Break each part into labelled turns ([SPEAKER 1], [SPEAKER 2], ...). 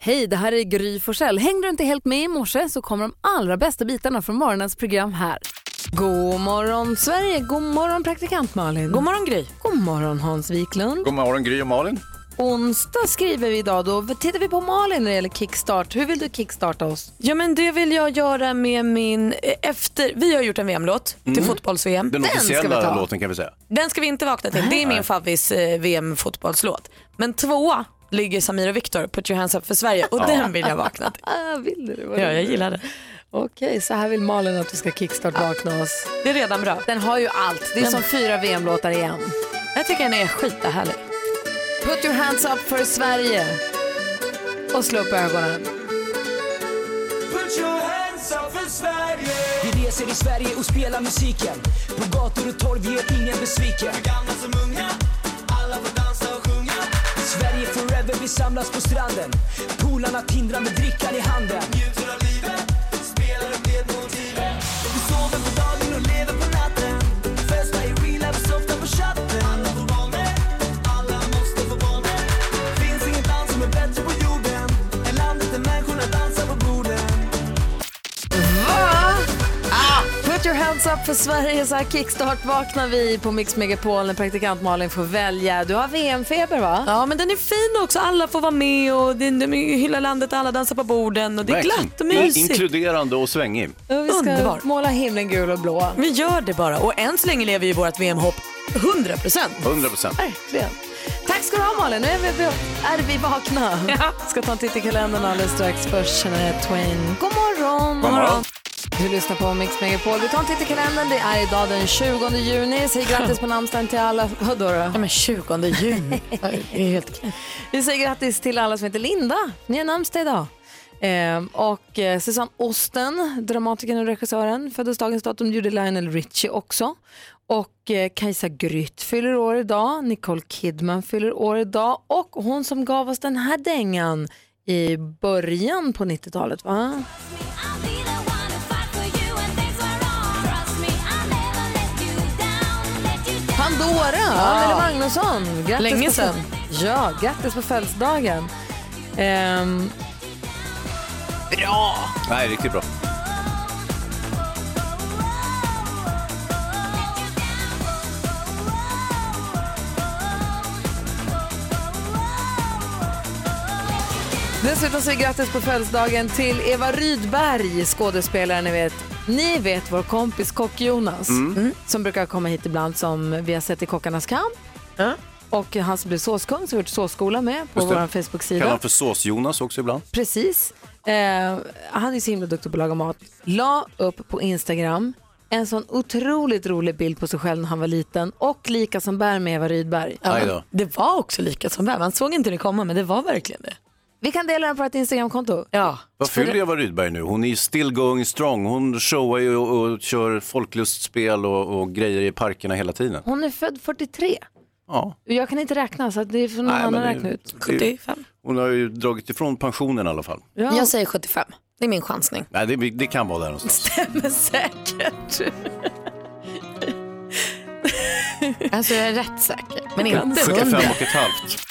[SPEAKER 1] Hej, det här är Gry Forssell. Hängde du inte helt med i morse så kommer de allra bästa bitarna från morgonens program här. God morgon Sverige, god morgon praktikant Malin. God morgon Gry. God morgon Hans Wiklund.
[SPEAKER 2] God morgon Gry och Malin.
[SPEAKER 1] Onsdag skriver vi idag då. Tittar vi på Malin när det gäller kickstart. Hur vill du kickstarta oss?
[SPEAKER 3] Ja men det vill jag göra med min, eh, efter, vi har gjort en VM-låt till
[SPEAKER 2] Mm.
[SPEAKER 3] fotbolls-VM.
[SPEAKER 2] Den,
[SPEAKER 3] ska vi
[SPEAKER 2] officiella
[SPEAKER 3] ta.
[SPEAKER 2] låten kan vi säga.
[SPEAKER 3] Den ska vi inte vakna till, det är min favvis eh, VM-fotbollslåt. Men tvåa ligger Samir och Viktor, Put your hands up för Sverige och
[SPEAKER 1] Ja.
[SPEAKER 3] den vill jag vakna till.
[SPEAKER 1] Ah, vill du?
[SPEAKER 3] Ja, jag gillar det.
[SPEAKER 1] Okej, så här vill Malin att vi ska kickstart-vakna oss.
[SPEAKER 3] Det är redan bra.
[SPEAKER 1] Den har ju allt. Det är
[SPEAKER 3] Den-
[SPEAKER 1] som fyra VM-låtar igen.
[SPEAKER 3] Jag tycker den är skithärlig.
[SPEAKER 1] Put your hands up för Sverige. Och slå upp ögonen.
[SPEAKER 4] Put your hands up för Sverige
[SPEAKER 5] Vi reser i Sverige och spelar musiken På gator och torg, vi gör ingen besviken
[SPEAKER 4] Gamla som unga, alla får dansa och sjunga
[SPEAKER 5] Sverige forever, vi samlas på stranden Polarna tindrar med drickan i handen
[SPEAKER 4] Njuter av livet, spelar upp det motivet Vi sover på dagen och lever på natten Festar i real life och softar på chatten Alla får barnen, alla måste få barnen Finns inget land som är bättre på jorden Än landet där människorna dansar på borden
[SPEAKER 1] Put your hands up för Sverige. Så här kickstart vaknar vi på Mix Megapol när praktikant Malin får välja. Du har VM-feber va?
[SPEAKER 3] Ja men den är fin också, alla får vara med och det- de hyllar landet, alla dansar på borden och det är
[SPEAKER 2] Verkligen.
[SPEAKER 3] glatt och
[SPEAKER 2] In-
[SPEAKER 3] mysigt.
[SPEAKER 2] Inkluderande och svängig.
[SPEAKER 1] Ja, vi ska
[SPEAKER 3] Underbart.
[SPEAKER 1] måla himlen gul och blå.
[SPEAKER 3] Vi gör det bara och än så länge lever ju vårt VM-hopp 100%.
[SPEAKER 2] 100 procent.
[SPEAKER 1] Verkligen. Tack ska du ha Malin. Nu är vi, är vi vakna. Ska ta en titt i kalendern alldeles strax. Först Shania Twain. God morgon.
[SPEAKER 2] God morgon.
[SPEAKER 1] Du lyssnar på Mix Megapol. Vi tar en titt i kalendern. Det är idag den 20 juni. Säg grattis på namnsdagen till alla. Vadå då?
[SPEAKER 3] Ja men 20 juni, Ja, det är helt
[SPEAKER 1] Vi säger grattis till alla som heter Linda. Ni har namnsdag idag. Ehm, och eh, Susanne Osten, dramatikern och regissören, föddes dagens datum. gjorde Lionel Richie också. Och eh, Kajsa Grytt fyller år idag. Nicole Kidman fyller år idag. Och hon som gav oss den här dängan i början på 90-talet, va?
[SPEAKER 6] I'll be the one to fight for you when things were wrong. Trust me, I'll never let you down, let you down.
[SPEAKER 1] Pandora, Anneli Magnusson. Grattis
[SPEAKER 3] Länge
[SPEAKER 1] på-
[SPEAKER 3] sedan.
[SPEAKER 1] Ja, grattis på födelsedagen. Ehm,
[SPEAKER 2] Nej, riktigt bra.
[SPEAKER 1] Dessutom säger vi grattis på födelsedagen till Eva Rydberg, skådespelaren ni vet. Ni vet vår kompis Kock-Jonas
[SPEAKER 2] Mm.
[SPEAKER 1] som brukar komma hit ibland som vi har sett i Kockarnas kamp. Och han som blev såskung som vi har gjort såsskola med på
[SPEAKER 2] Just det.
[SPEAKER 1] vår
[SPEAKER 2] Kallar
[SPEAKER 1] Facebook-sida.
[SPEAKER 2] han för Sås-Jonas också ibland.
[SPEAKER 1] Precis. Eh, han är så himla duktig på att laga mat. La upp på Instagram en sån otroligt rolig bild på sig själv när han var liten och lika som bär med Eva Rydberg.
[SPEAKER 2] Aj då.
[SPEAKER 3] Det var också lika som vem. Man såg inte det komma men det var verkligen det.
[SPEAKER 1] Vi kan dela den på vårt Instagramkonto.
[SPEAKER 3] Ja.
[SPEAKER 2] Vad fyller Eva Rydberg nu? Hon är still going strong. Hon showar ju och, och kör folklustspel och, och grejer i parkerna hela tiden.
[SPEAKER 3] Mm,
[SPEAKER 1] Hon är född 43.
[SPEAKER 2] Ja.
[SPEAKER 1] Jag kan inte räkna så att det är för någon
[SPEAKER 2] Nej, men
[SPEAKER 1] annan
[SPEAKER 2] det-
[SPEAKER 1] räkna ut.
[SPEAKER 2] det-
[SPEAKER 3] 75.
[SPEAKER 2] Hon har ju dragit ifrån pensionen i alla fall.
[SPEAKER 1] Ja.
[SPEAKER 3] Jag säger 75. Det är min chansning.
[SPEAKER 2] Nej, det, det kan vara där någonstans.
[SPEAKER 3] Men säkert.
[SPEAKER 7] Alltså jag är rätt säker. Men inte.
[SPEAKER 2] 75 och ett halvt.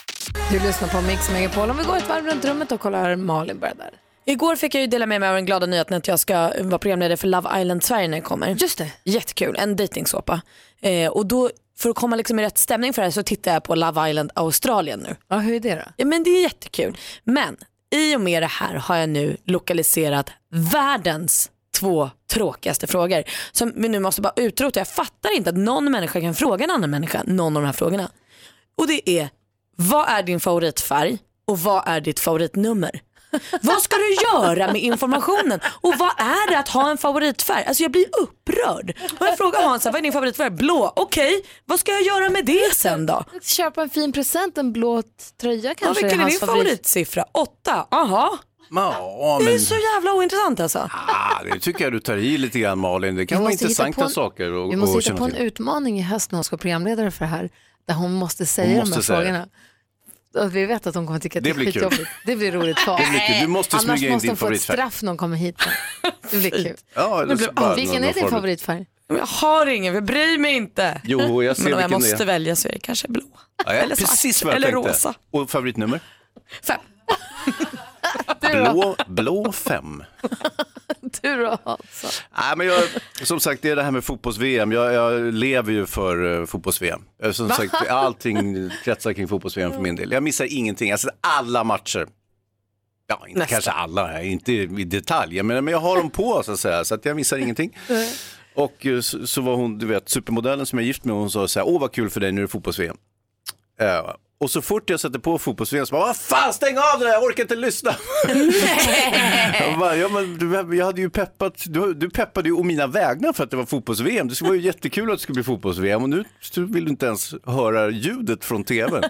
[SPEAKER 1] Du lyssnar på Mix Megapol. Om vi går ett varv runt rummet och kollar Malin börjar där.
[SPEAKER 3] Igår fick jag ju dela med mig av den glada nyheten att jag ska vara programledare för Love Island Sverige när det kommer.
[SPEAKER 1] Just det.
[SPEAKER 3] Jättekul, en dejtingsåpa. Eh, och då, för att komma liksom i rätt stämning för det här så tittar jag på Love Island Australien nu.
[SPEAKER 1] Ja, hur är det då?
[SPEAKER 3] Ja, men det är jättekul. Men i och med det här har jag nu lokaliserat världens två tråkigaste frågor som vi nu måste bara utrota. Jag fattar inte att någon människa kan fråga en annan människa någon av de här frågorna. Och det är, vad är din favoritfärg och vad är ditt favoritnummer? Vad ska du göra med informationen? Och vad är det att ha en favoritfärg? Alltså jag blir upprörd. Och jag frågar Hans, vad är din favoritfärg? Blå. Okej, vad ska jag göra med det sen då?
[SPEAKER 1] Köpa en fin present, en blå tröja
[SPEAKER 3] Ja,
[SPEAKER 1] kanske
[SPEAKER 3] vilken är din
[SPEAKER 1] hans favorit.
[SPEAKER 3] favoritsiffra? Åtta? Aha.
[SPEAKER 2] Ja,
[SPEAKER 3] Det är
[SPEAKER 2] men
[SPEAKER 3] så jävla ointressant alltså.
[SPEAKER 2] ah, det tycker jag du tar i lite grann Malin. Det kan
[SPEAKER 1] Vi
[SPEAKER 2] vara
[SPEAKER 1] måste hitta på
[SPEAKER 2] intressanta
[SPEAKER 1] en-
[SPEAKER 2] saker och,
[SPEAKER 1] Vi måste
[SPEAKER 2] och
[SPEAKER 1] hitta
[SPEAKER 2] känna
[SPEAKER 1] på en
[SPEAKER 2] till.
[SPEAKER 1] utmaning i höst när hon ska vara programledare för det här. Där hon måste säga
[SPEAKER 2] Hon
[SPEAKER 1] de här
[SPEAKER 2] måste säga
[SPEAKER 1] frågorna. Och vi vet att hon kommer tycka att det,
[SPEAKER 2] Det blir
[SPEAKER 1] är
[SPEAKER 2] kul.
[SPEAKER 1] skitjobbigt. Det blir roligt för
[SPEAKER 2] blir kul. Du måste
[SPEAKER 1] Annars
[SPEAKER 2] smyga in
[SPEAKER 1] måste
[SPEAKER 2] din
[SPEAKER 1] hon få ett
[SPEAKER 2] favoritfärg.
[SPEAKER 1] straff när hon kommer hit. Det blir kul.
[SPEAKER 2] Ja, eller så bara någon
[SPEAKER 1] Vilken är din
[SPEAKER 2] form-
[SPEAKER 1] favoritfärg?
[SPEAKER 3] Jag har ingen, jag bryr mig inte.
[SPEAKER 2] Jo, jag ser
[SPEAKER 3] Men om jag
[SPEAKER 2] vilken det
[SPEAKER 3] måste
[SPEAKER 2] är.
[SPEAKER 3] välja så är det kanske blå.
[SPEAKER 2] Ja, ja,
[SPEAKER 3] Eller svart.
[SPEAKER 2] precis vad jag
[SPEAKER 3] Eller
[SPEAKER 2] tänkte.
[SPEAKER 3] rosa.
[SPEAKER 2] Och favoritnummer?
[SPEAKER 3] Fem.
[SPEAKER 2] Blå, blå fem.
[SPEAKER 1] Du då alltså.
[SPEAKER 2] Nej, men jag, som sagt, det är det här med fotbolls-VM. Jag, jag lever ju för eh, fotbolls-VM. Eh, Som sagt, allting kretsar kring fotbolls-VM för min del. Jag missar ingenting. Jag ser alla matcher. Ja, inte kanske alla, eh, inte i detalj. Men, men jag har dem på så att säga, så att jag missar ingenting. Och eh, så, så var hon, du vet, supermodellen som jag är gift med, hon sa så här, åh vad kul för dig, nu är det fotbolls-VM. Eh, och så fort jag sätter på fotbolls-VM så bara, vad fan stäng av det där, jag orkar inte lyssna. Jag, bara, ja, men du, jag hade ju peppat, du, du peppade ju å mina vägnar för att det var fotbolls-VM. Det var ju jättekul att det skulle bli fotbolls-VM och nu vill du inte ens höra ljudet från tvn.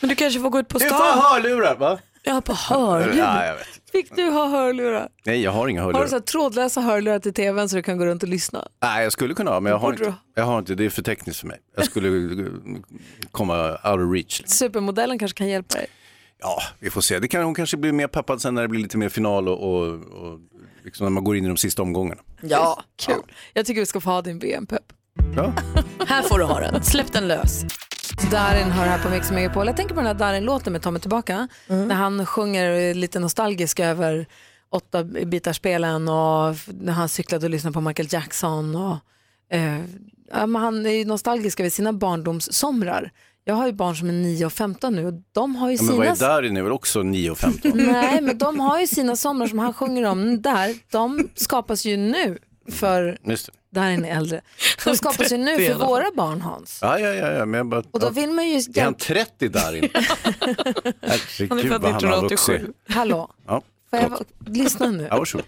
[SPEAKER 3] Men du kanske får gå ut på
[SPEAKER 2] Det är fan
[SPEAKER 3] stan.
[SPEAKER 2] hörlurar va?
[SPEAKER 3] Ja, på hörlurar.
[SPEAKER 2] Ja, jag vet.
[SPEAKER 1] Fick du ha hörlurar?
[SPEAKER 2] Nej, jag har inga
[SPEAKER 1] Har du så
[SPEAKER 2] hörlurar.
[SPEAKER 1] här trådlösa hörlurar till tvn så du kan gå runt och lyssna?
[SPEAKER 2] Nej, jag skulle kunna ha, men jag har
[SPEAKER 1] Borde
[SPEAKER 2] inte. Jag har inte, det är för tekniskt för mig. Jag skulle eh, komma out of reach.
[SPEAKER 1] Supermodellen kanske kan hjälpa dig.
[SPEAKER 2] Ja, vi får se. Det kan, hon kanske blir mer peppad sen när det blir lite mer final och, och, och liksom när man går in i de sista omgångarna.
[SPEAKER 3] Ja,
[SPEAKER 1] Kul. Jag tycker du ska få ha din VM-pepp.
[SPEAKER 2] Ja.
[SPEAKER 3] här får du ha den. Släpp den lös.
[SPEAKER 1] Darin hör här på Mix Megapol. Jag tänker på den här Darin-låten med Tommy tillbaka. När han sjunger lite nostalgisk över åtta bitarspelen och f- när han cyklade och lyssnade på Michael Jackson. Och, eh, ja, men han är ju nostalgisk över sina barndomssomrar. Jag har ju barn som är 9 och 15 nu och de har ju
[SPEAKER 2] Men vad
[SPEAKER 1] sina...
[SPEAKER 2] är där inne? Det är väl också 9.15?
[SPEAKER 1] Nej, men de har ju sina somrar som han sjunger om där. De skapas ju nu för...
[SPEAKER 2] Just det.
[SPEAKER 1] Darin är äldre. De skapas ju nu för våra barn, Hans.
[SPEAKER 2] Ja, ja, ja, ja, men jag bara...
[SPEAKER 1] Och då vill man ju...
[SPEAKER 2] Är han 30 där inne? Herregud, han är född 1987.
[SPEAKER 1] Hallå,
[SPEAKER 2] Ja,
[SPEAKER 1] får jag va- lyssna nu?
[SPEAKER 2] ja, varsågod.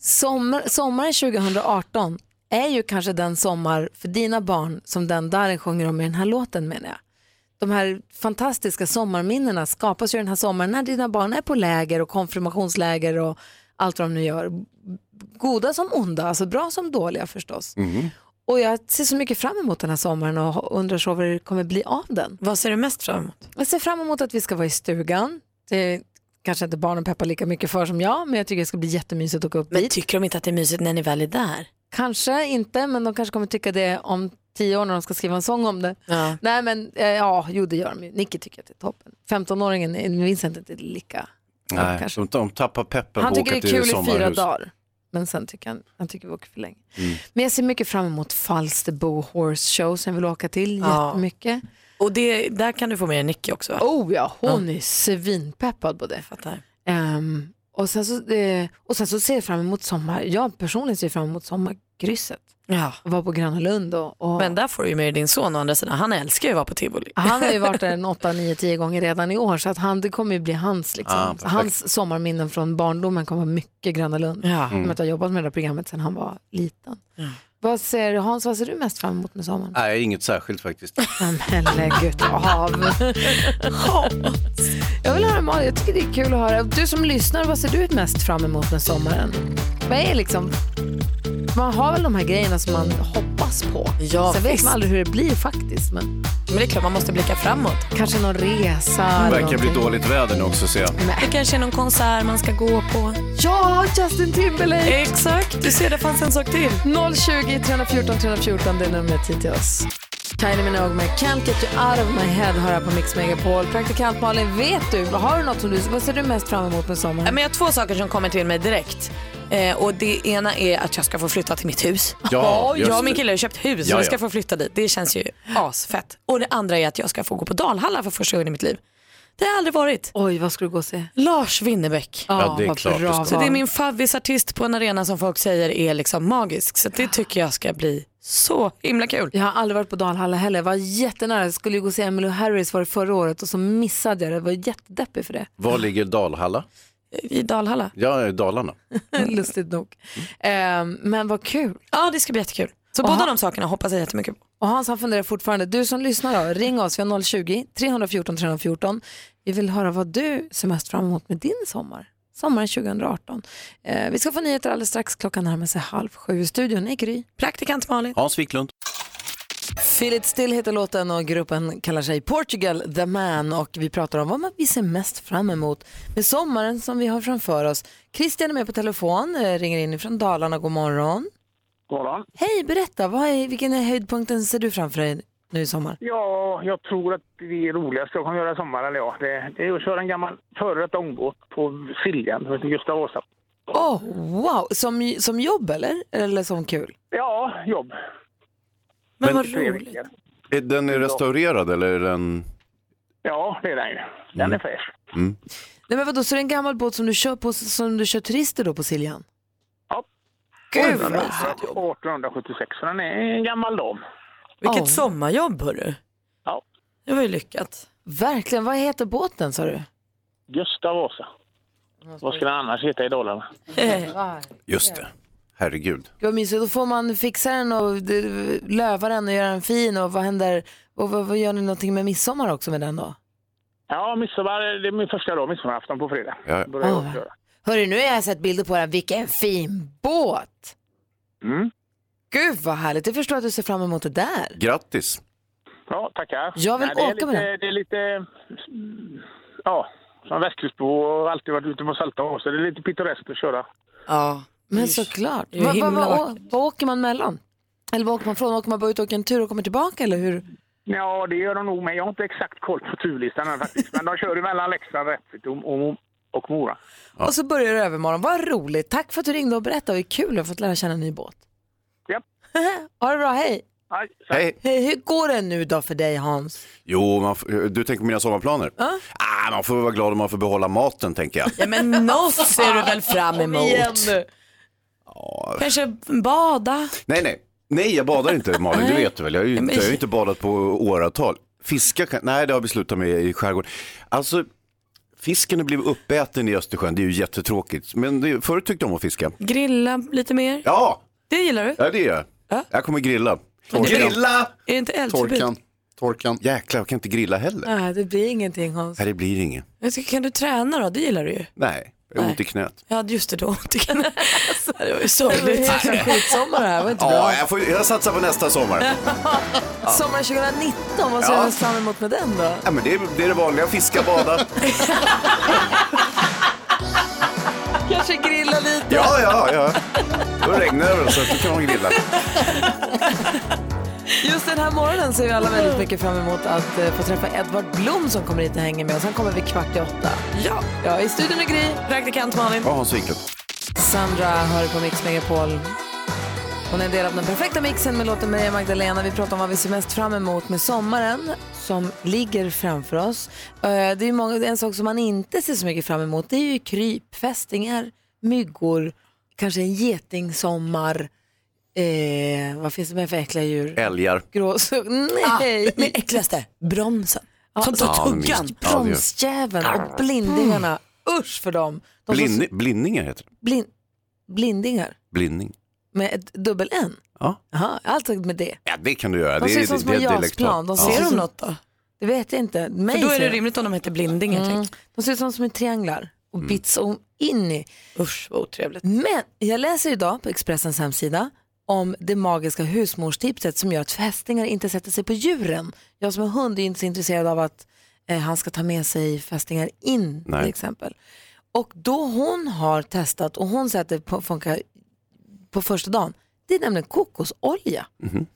[SPEAKER 1] Sommar, sommaren 2018 är ju kanske den sommar för dina barn som den Darin sjunger om i den här låten menar jag. De här fantastiska sommarminnena skapas ju den här sommaren när dina barn är på läger och konfirmationsläger och allt vad de nu gör. Goda som onda, alltså bra som dåliga förstås. Och jag ser så mycket fram emot den här sommaren och undrar så vad det kommer bli av den.
[SPEAKER 3] Vad ser du mest fram emot?
[SPEAKER 1] Jag ser fram emot att vi ska vara i stugan. Det kanske inte barnen peppar lika mycket för som jag, men jag tycker det ska bli jättemysigt att åka upp
[SPEAKER 3] Men
[SPEAKER 1] dit.
[SPEAKER 3] tycker de inte att det är mysigt när ni väl är där?
[SPEAKER 1] Kanske inte, men de kanske kommer tycka det om tio år när de ska skriva en sång om det.
[SPEAKER 3] Ja.
[SPEAKER 1] Nej men eh, ja, jo det gör de ju. Nicky tycker att det är toppen. 15-åringen, är- Vincent är inte lika.
[SPEAKER 2] Nej,
[SPEAKER 1] kanske.
[SPEAKER 2] de, de tappar peppen
[SPEAKER 1] Han
[SPEAKER 2] på
[SPEAKER 1] tycker
[SPEAKER 2] att åka
[SPEAKER 1] det är kul
[SPEAKER 2] till
[SPEAKER 1] i fyra
[SPEAKER 2] sommarhus.
[SPEAKER 1] dagar. Men sen tycker han, han tycker vi åker för länge.
[SPEAKER 2] Mm.
[SPEAKER 1] Men jag ser mycket fram emot Falsterbo Horse Show som jag vill åka till
[SPEAKER 3] Ja.
[SPEAKER 1] jättemycket.
[SPEAKER 3] Och det, där kan du få med dig Nicky också va?
[SPEAKER 1] Oh ja, hon är svinpeppad på det.
[SPEAKER 3] Fattar.
[SPEAKER 1] Ehm, och, sen så, eh, och sen så ser jag fram emot sommar, jag personligen ser fram emot sommarkrysset.
[SPEAKER 3] Ja.
[SPEAKER 1] Vara på Gröna Lund och, och
[SPEAKER 3] Men där får du ju med dig din son å andra sidan. Han älskar ju att vara på tivoli.
[SPEAKER 1] Han har ju varit där en 8, 9, 10 gånger redan i år så att han, det kommer ju bli hans, liksom.
[SPEAKER 2] Ah, perfekt.
[SPEAKER 1] hans sommarminnen från barndomen kommer vara mycket Gröna Lund.
[SPEAKER 3] Ja.
[SPEAKER 1] I och med att jag har jobbat med det här programmet sedan han var liten. Vad ser, Hans, vad ser du mest fram emot med sommaren?
[SPEAKER 2] Nej, inget särskilt faktiskt.
[SPEAKER 1] Men herregud, av. jag vill höra Malin, jag tycker det är kul att höra. Du som lyssnar, vad ser du mest fram emot med sommaren? Vad är liksom, man har väl de här grejerna som man hoppas på.
[SPEAKER 3] Ja,
[SPEAKER 1] Sen vet
[SPEAKER 3] visst.
[SPEAKER 1] man aldrig hur det blir faktiskt. Men
[SPEAKER 3] Men det är klart man måste blicka framåt.
[SPEAKER 1] kanske någon resa.
[SPEAKER 2] Det
[SPEAKER 1] eller
[SPEAKER 2] verkar bli
[SPEAKER 1] någonting.
[SPEAKER 2] dåligt väder nu också ser jag.
[SPEAKER 3] Det kanske är någon konsert man ska gå på.
[SPEAKER 1] Ja, Justin Timberlake!
[SPEAKER 3] Exakt, du ser det fanns en sak till.
[SPEAKER 1] 020 314 314, det är numret hit till oss. Kylie Minogue med Can't Get You Out of My Head har här på Mix Megapol. Praktikant Malin, vet du, har du något som du, vad ser du mest fram emot med
[SPEAKER 3] Ja,
[SPEAKER 1] sommaren?
[SPEAKER 3] men jag har två saker som kommer till mig direkt. Eh, och det ena är att jag ska få flytta till mitt hus.
[SPEAKER 2] Ja, just
[SPEAKER 3] jag och min
[SPEAKER 2] det.
[SPEAKER 3] kille har köpt hus
[SPEAKER 2] Ja,
[SPEAKER 3] och vi
[SPEAKER 2] ja.
[SPEAKER 3] ska få flytta dit. Det känns ju asfett. Och det andra är att jag ska få gå på Dalhalla för första gången i mitt liv. Det har jag aldrig varit.
[SPEAKER 1] Oj, vad ska du gå och se?
[SPEAKER 3] Lars Winnerbäck.
[SPEAKER 2] Ja, det är
[SPEAKER 1] vad
[SPEAKER 2] klart du
[SPEAKER 1] bra
[SPEAKER 2] ska.
[SPEAKER 1] val.
[SPEAKER 3] Så det är min favvisartist på en arena som folk säger är liksom magisk. Så det tycker jag ska bli så himla kul.
[SPEAKER 1] Jag har aldrig varit på Dalhalla heller. Jag var jättenära. Jag skulle ju gå och se Emily Harris var det förra året och så missade jag det. Jag var jättedeppig för det.
[SPEAKER 2] Var ligger Dalhalla?
[SPEAKER 3] I Dalhalla.
[SPEAKER 2] Ja, i Dalarna.
[SPEAKER 1] Mm. Lustigt nog. Ehm, men vad kul.
[SPEAKER 3] Ja det ska bli jättekul. Så båda de sakerna hoppas jag jättemycket på.
[SPEAKER 1] Och Hans han funderar fortfarande. Du som lyssnar då, ring oss. Vi har 020 314 314. Vi vill höra vad du ser mest fram emot med din sommar. Sommaren 2018. Eh, vi ska få nyheter alldeles strax. Klockan närmar sig halv sju. I studion är Gry.
[SPEAKER 3] Praktikant Malin.
[SPEAKER 2] Hans Wiklund.
[SPEAKER 1] Feel it still heter låten och gruppen kallar sig Portugal the man och vi pratar om vad man vi ser mest fram emot med sommaren som vi har framför oss. Christian är med på telefon, eh, ringer in från Dalarna. God morgon.
[SPEAKER 8] Goddag.
[SPEAKER 1] Hej, berätta, vad är, vilken är höjdpunkten ser du framför dig nu i sommar?
[SPEAKER 8] Ja, jag tror att det roligaste jag kommer göra i sommar, eller ja, det, det är att köra en gammal före detta ångbåt på Siljan, som heter Gustav Vasa.
[SPEAKER 1] Åh, wow! Som, som jobb eller? Eller som kul?
[SPEAKER 8] Ja, jobb.
[SPEAKER 2] Men
[SPEAKER 8] Tre veckor.
[SPEAKER 2] är den är restaurerad eller är den...
[SPEAKER 8] Ja, det är den ju. Den är fräsch.
[SPEAKER 1] Nej men vadå, så det är en gammal båt som du kör, på, som du kör turister då på Siljan?
[SPEAKER 8] Ja.
[SPEAKER 1] Gud vad
[SPEAKER 8] Den är
[SPEAKER 1] mysigt.
[SPEAKER 8] 1876, så den är en gammal dam.
[SPEAKER 3] Vilket
[SPEAKER 1] Ja.
[SPEAKER 3] sommarjobb hörru.
[SPEAKER 8] Ja.
[SPEAKER 3] Det var ju lyckat.
[SPEAKER 1] Verkligen, vad heter båten sa du?
[SPEAKER 8] Gustav Vasa. Vad skulle den annars heta i Dalarna?
[SPEAKER 2] Just det. Herregud.
[SPEAKER 1] Gud vad mysigt, då får man fixa den och d- löva den och göra den fin och vad händer, och vad, vad gör ni någonting med midsommar också med den då?
[SPEAKER 8] Ja, midsommar, det är min första dag, midsommarafton på fredag.
[SPEAKER 2] Ja, ja.
[SPEAKER 8] Börjar jag
[SPEAKER 1] Åh.
[SPEAKER 8] köra.
[SPEAKER 1] Hörru, nu har jag sett bilder på den, vilken fin båt!
[SPEAKER 8] Mm.
[SPEAKER 1] Gud vad härligt, jag förstår att du ser fram emot det där.
[SPEAKER 2] Grattis.
[SPEAKER 8] Ja, tackar.
[SPEAKER 1] Jag vill
[SPEAKER 8] det är
[SPEAKER 1] åka
[SPEAKER 8] lite,
[SPEAKER 1] med den.
[SPEAKER 8] Det är lite, mm, ja, som västkustbo och alltid varit ute på salta hav, så det är lite pittoreskt att köra.
[SPEAKER 3] Ja.
[SPEAKER 1] Men såklart,
[SPEAKER 3] det är ju
[SPEAKER 1] vad va,
[SPEAKER 3] himla
[SPEAKER 1] va, å- vad åker man mellan? Eller vad åker man från? Åker man bara ut och åker en tur och kommer tillbaka eller hur?
[SPEAKER 8] Ja, det gör de nog, men jag har inte exakt koll på turlistan än faktiskt. Men de kör ju mellan Leksand, Rättvik och, och, och Mora.
[SPEAKER 1] Och så börjar det övermorgon. Vad roligt. Tack för att du ringde och berättade. Vad kul att ha fått lära känna en ny båt.
[SPEAKER 8] Japp.
[SPEAKER 1] ha det bra. Hej.
[SPEAKER 8] Aj, så-
[SPEAKER 2] Hej.
[SPEAKER 1] Hej. Hur går det nu då för dig Hans?
[SPEAKER 2] Jo, man f- du tänker på mina sommarplaner? Ah, man får vara glad om man får behålla maten, tänker jag.
[SPEAKER 3] ja men något ser du väl fram emot? Kanske bada?
[SPEAKER 2] Nej, nej. Nej, jag badar inte Malin, det vet du väl? Jag har ju inte, jag har ju inte badat på åratal. Fiska kan, nej det har vi slutat med i skärgården. Alltså, fisken har blivit uppäten i Östersjön, det är ju jättetråkigt. Men det, förut tyckte jag om att fiska.
[SPEAKER 3] Grilla lite mer?
[SPEAKER 2] Ja,
[SPEAKER 3] Det gillar du?
[SPEAKER 2] ja det gör jag. Jag kommer grilla. Grilla!
[SPEAKER 3] Är det inte eldförbud?
[SPEAKER 9] Torkan. Torkan.
[SPEAKER 2] Jäklar, jag kan inte grilla heller.
[SPEAKER 1] Nej, det blir ingenting Hans.
[SPEAKER 2] Nej, det blir inget.
[SPEAKER 3] Jag tycker, Kan du träna då? Det gillar du ju.
[SPEAKER 2] Nej, jag har ont i knät.
[SPEAKER 3] Ja just det, då. Du kan... det var ju sorgligt.
[SPEAKER 1] Skitsommar det här, var inte bra.
[SPEAKER 2] Ja, jag, får, jag satsar på nästa sommar.
[SPEAKER 1] Sommaren 2019, vad ser
[SPEAKER 2] Ja.
[SPEAKER 1] du fram emot med den då?
[SPEAKER 2] Ja, men det, är, det är det vanliga, fiska, bada.
[SPEAKER 1] Kanske grilla lite.
[SPEAKER 2] Ja, ja, ja. Då regnar det väl så att då kan man grilla.
[SPEAKER 1] Just den här morgonen ser vi alla väldigt mycket fram emot att eh, få träffa Edvard Blom som kommer hit och hänger med oss. Han kommer vid kvart i åtta.
[SPEAKER 3] ja.
[SPEAKER 1] Ja, i studion är Gry.
[SPEAKER 3] Praktikant Malin.
[SPEAKER 2] Ja, Hans Wiklund.
[SPEAKER 1] Sandra hör på Mix Megapol. Hon är en del av den perfekta mixen med låten Maria Magdalena. Vi pratar om vad vi ser mest fram emot med sommaren som ligger framför oss. Eh, Det är ju många, det är en sak som man inte ser så mycket fram emot det är ju kryp, fästingar, myggor, kanske en getingsommar. Eh, vad finns det mer för äckliga djur?
[SPEAKER 2] Älgar.
[SPEAKER 1] Gråsugg?
[SPEAKER 3] Ah,
[SPEAKER 1] Nej!
[SPEAKER 3] men äckligaste, bromsen. Som tar
[SPEAKER 2] Ja, men visst.
[SPEAKER 3] tuggan.
[SPEAKER 2] Ja, det gör.
[SPEAKER 1] Bromsjäveln och blindingarna. Usch för dem! De som-
[SPEAKER 2] Blin, blinningar heter det.
[SPEAKER 1] blin, blindingar
[SPEAKER 2] Blinning.
[SPEAKER 1] med ett dubbel-N.
[SPEAKER 2] Ja.
[SPEAKER 1] Jaha, allt med det.
[SPEAKER 2] ja, det kan du göra.
[SPEAKER 1] De
[SPEAKER 2] det,
[SPEAKER 1] ser
[SPEAKER 2] är-
[SPEAKER 1] ut som
[SPEAKER 2] det,
[SPEAKER 1] små
[SPEAKER 2] det, är
[SPEAKER 1] jasplan.
[SPEAKER 2] dialektalt.
[SPEAKER 1] De
[SPEAKER 3] Ser
[SPEAKER 1] ser
[SPEAKER 3] de
[SPEAKER 1] som,
[SPEAKER 3] något då?
[SPEAKER 1] det vet jag inte. Mig
[SPEAKER 3] För då är
[SPEAKER 1] ser
[SPEAKER 3] det
[SPEAKER 1] de.
[SPEAKER 3] rimligt om de heter blindingar.
[SPEAKER 1] Mm.
[SPEAKER 3] Mm.
[SPEAKER 1] De ser ut som små trianglar och
[SPEAKER 2] Mm.
[SPEAKER 1] bits om in i.
[SPEAKER 3] Usch vad otrevligt.
[SPEAKER 1] Men jag läser idag på Expressens hemsida om det magiska husmorstipset som gör att fästingar inte sätter sig på djuren. Jag som är hund är inte så intresserad av att eh, han ska ta med sig fästingar in till
[SPEAKER 2] Nej.
[SPEAKER 1] exempel. Och då hon har testat och hon säger att det på- funkar på första dagen, det är nämligen kokosolja.
[SPEAKER 2] Mhm.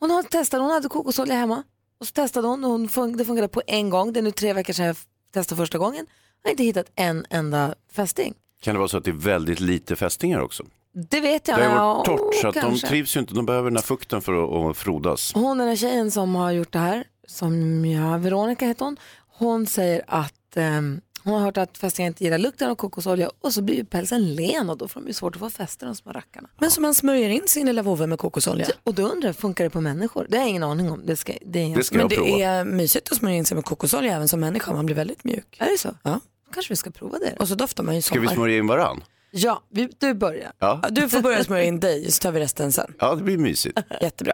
[SPEAKER 1] Hon har testat, hon hade kokosolja hemma och så testade hon och hon fun- det funkade på en gång. Det är nu tre veckor sedan jag f- testade första gången. Jag har inte hittat en enda fästing.
[SPEAKER 2] Kan det vara så att det är väldigt lite fästingar också?
[SPEAKER 1] Det vet jag.
[SPEAKER 2] Det har ju
[SPEAKER 1] Ja,
[SPEAKER 2] varit torrt så att de
[SPEAKER 1] kanske.
[SPEAKER 2] trivs ju inte. De behöver den här fukten för att, att frodas.
[SPEAKER 1] Hon den här tjejen som har gjort det här, som ja, Veronica heter hon, hon säger att ehm, hon har hört att fästingar inte gillar lukten av kokosolja och så blir ju pälsen len och då får de ju svårt att få fäste de små rackarna.
[SPEAKER 3] Men som man smörjer in sin lilla vovve med kokosolja.
[SPEAKER 1] Och då undrar jag, funkar det på människor? Det har jag ingen aning om. Det ska, det är, ingen...
[SPEAKER 2] Det ska
[SPEAKER 3] Men
[SPEAKER 2] jag
[SPEAKER 3] det
[SPEAKER 2] prova.
[SPEAKER 3] är mysigt att smörja in sig med kokosolja även som människa. Man blir väldigt mjuk.
[SPEAKER 1] är det så?
[SPEAKER 3] Ja.
[SPEAKER 1] kanske vi ska prova det.
[SPEAKER 3] Och så doftar man ju sommar.
[SPEAKER 2] Ska vi smörja in varann?
[SPEAKER 1] Ja, vi, du börjar.
[SPEAKER 2] Ja,
[SPEAKER 3] Ja, Du får börja smörja in dig så tar vi resten sen.
[SPEAKER 2] ja det blir mysigt.
[SPEAKER 3] Jättebra.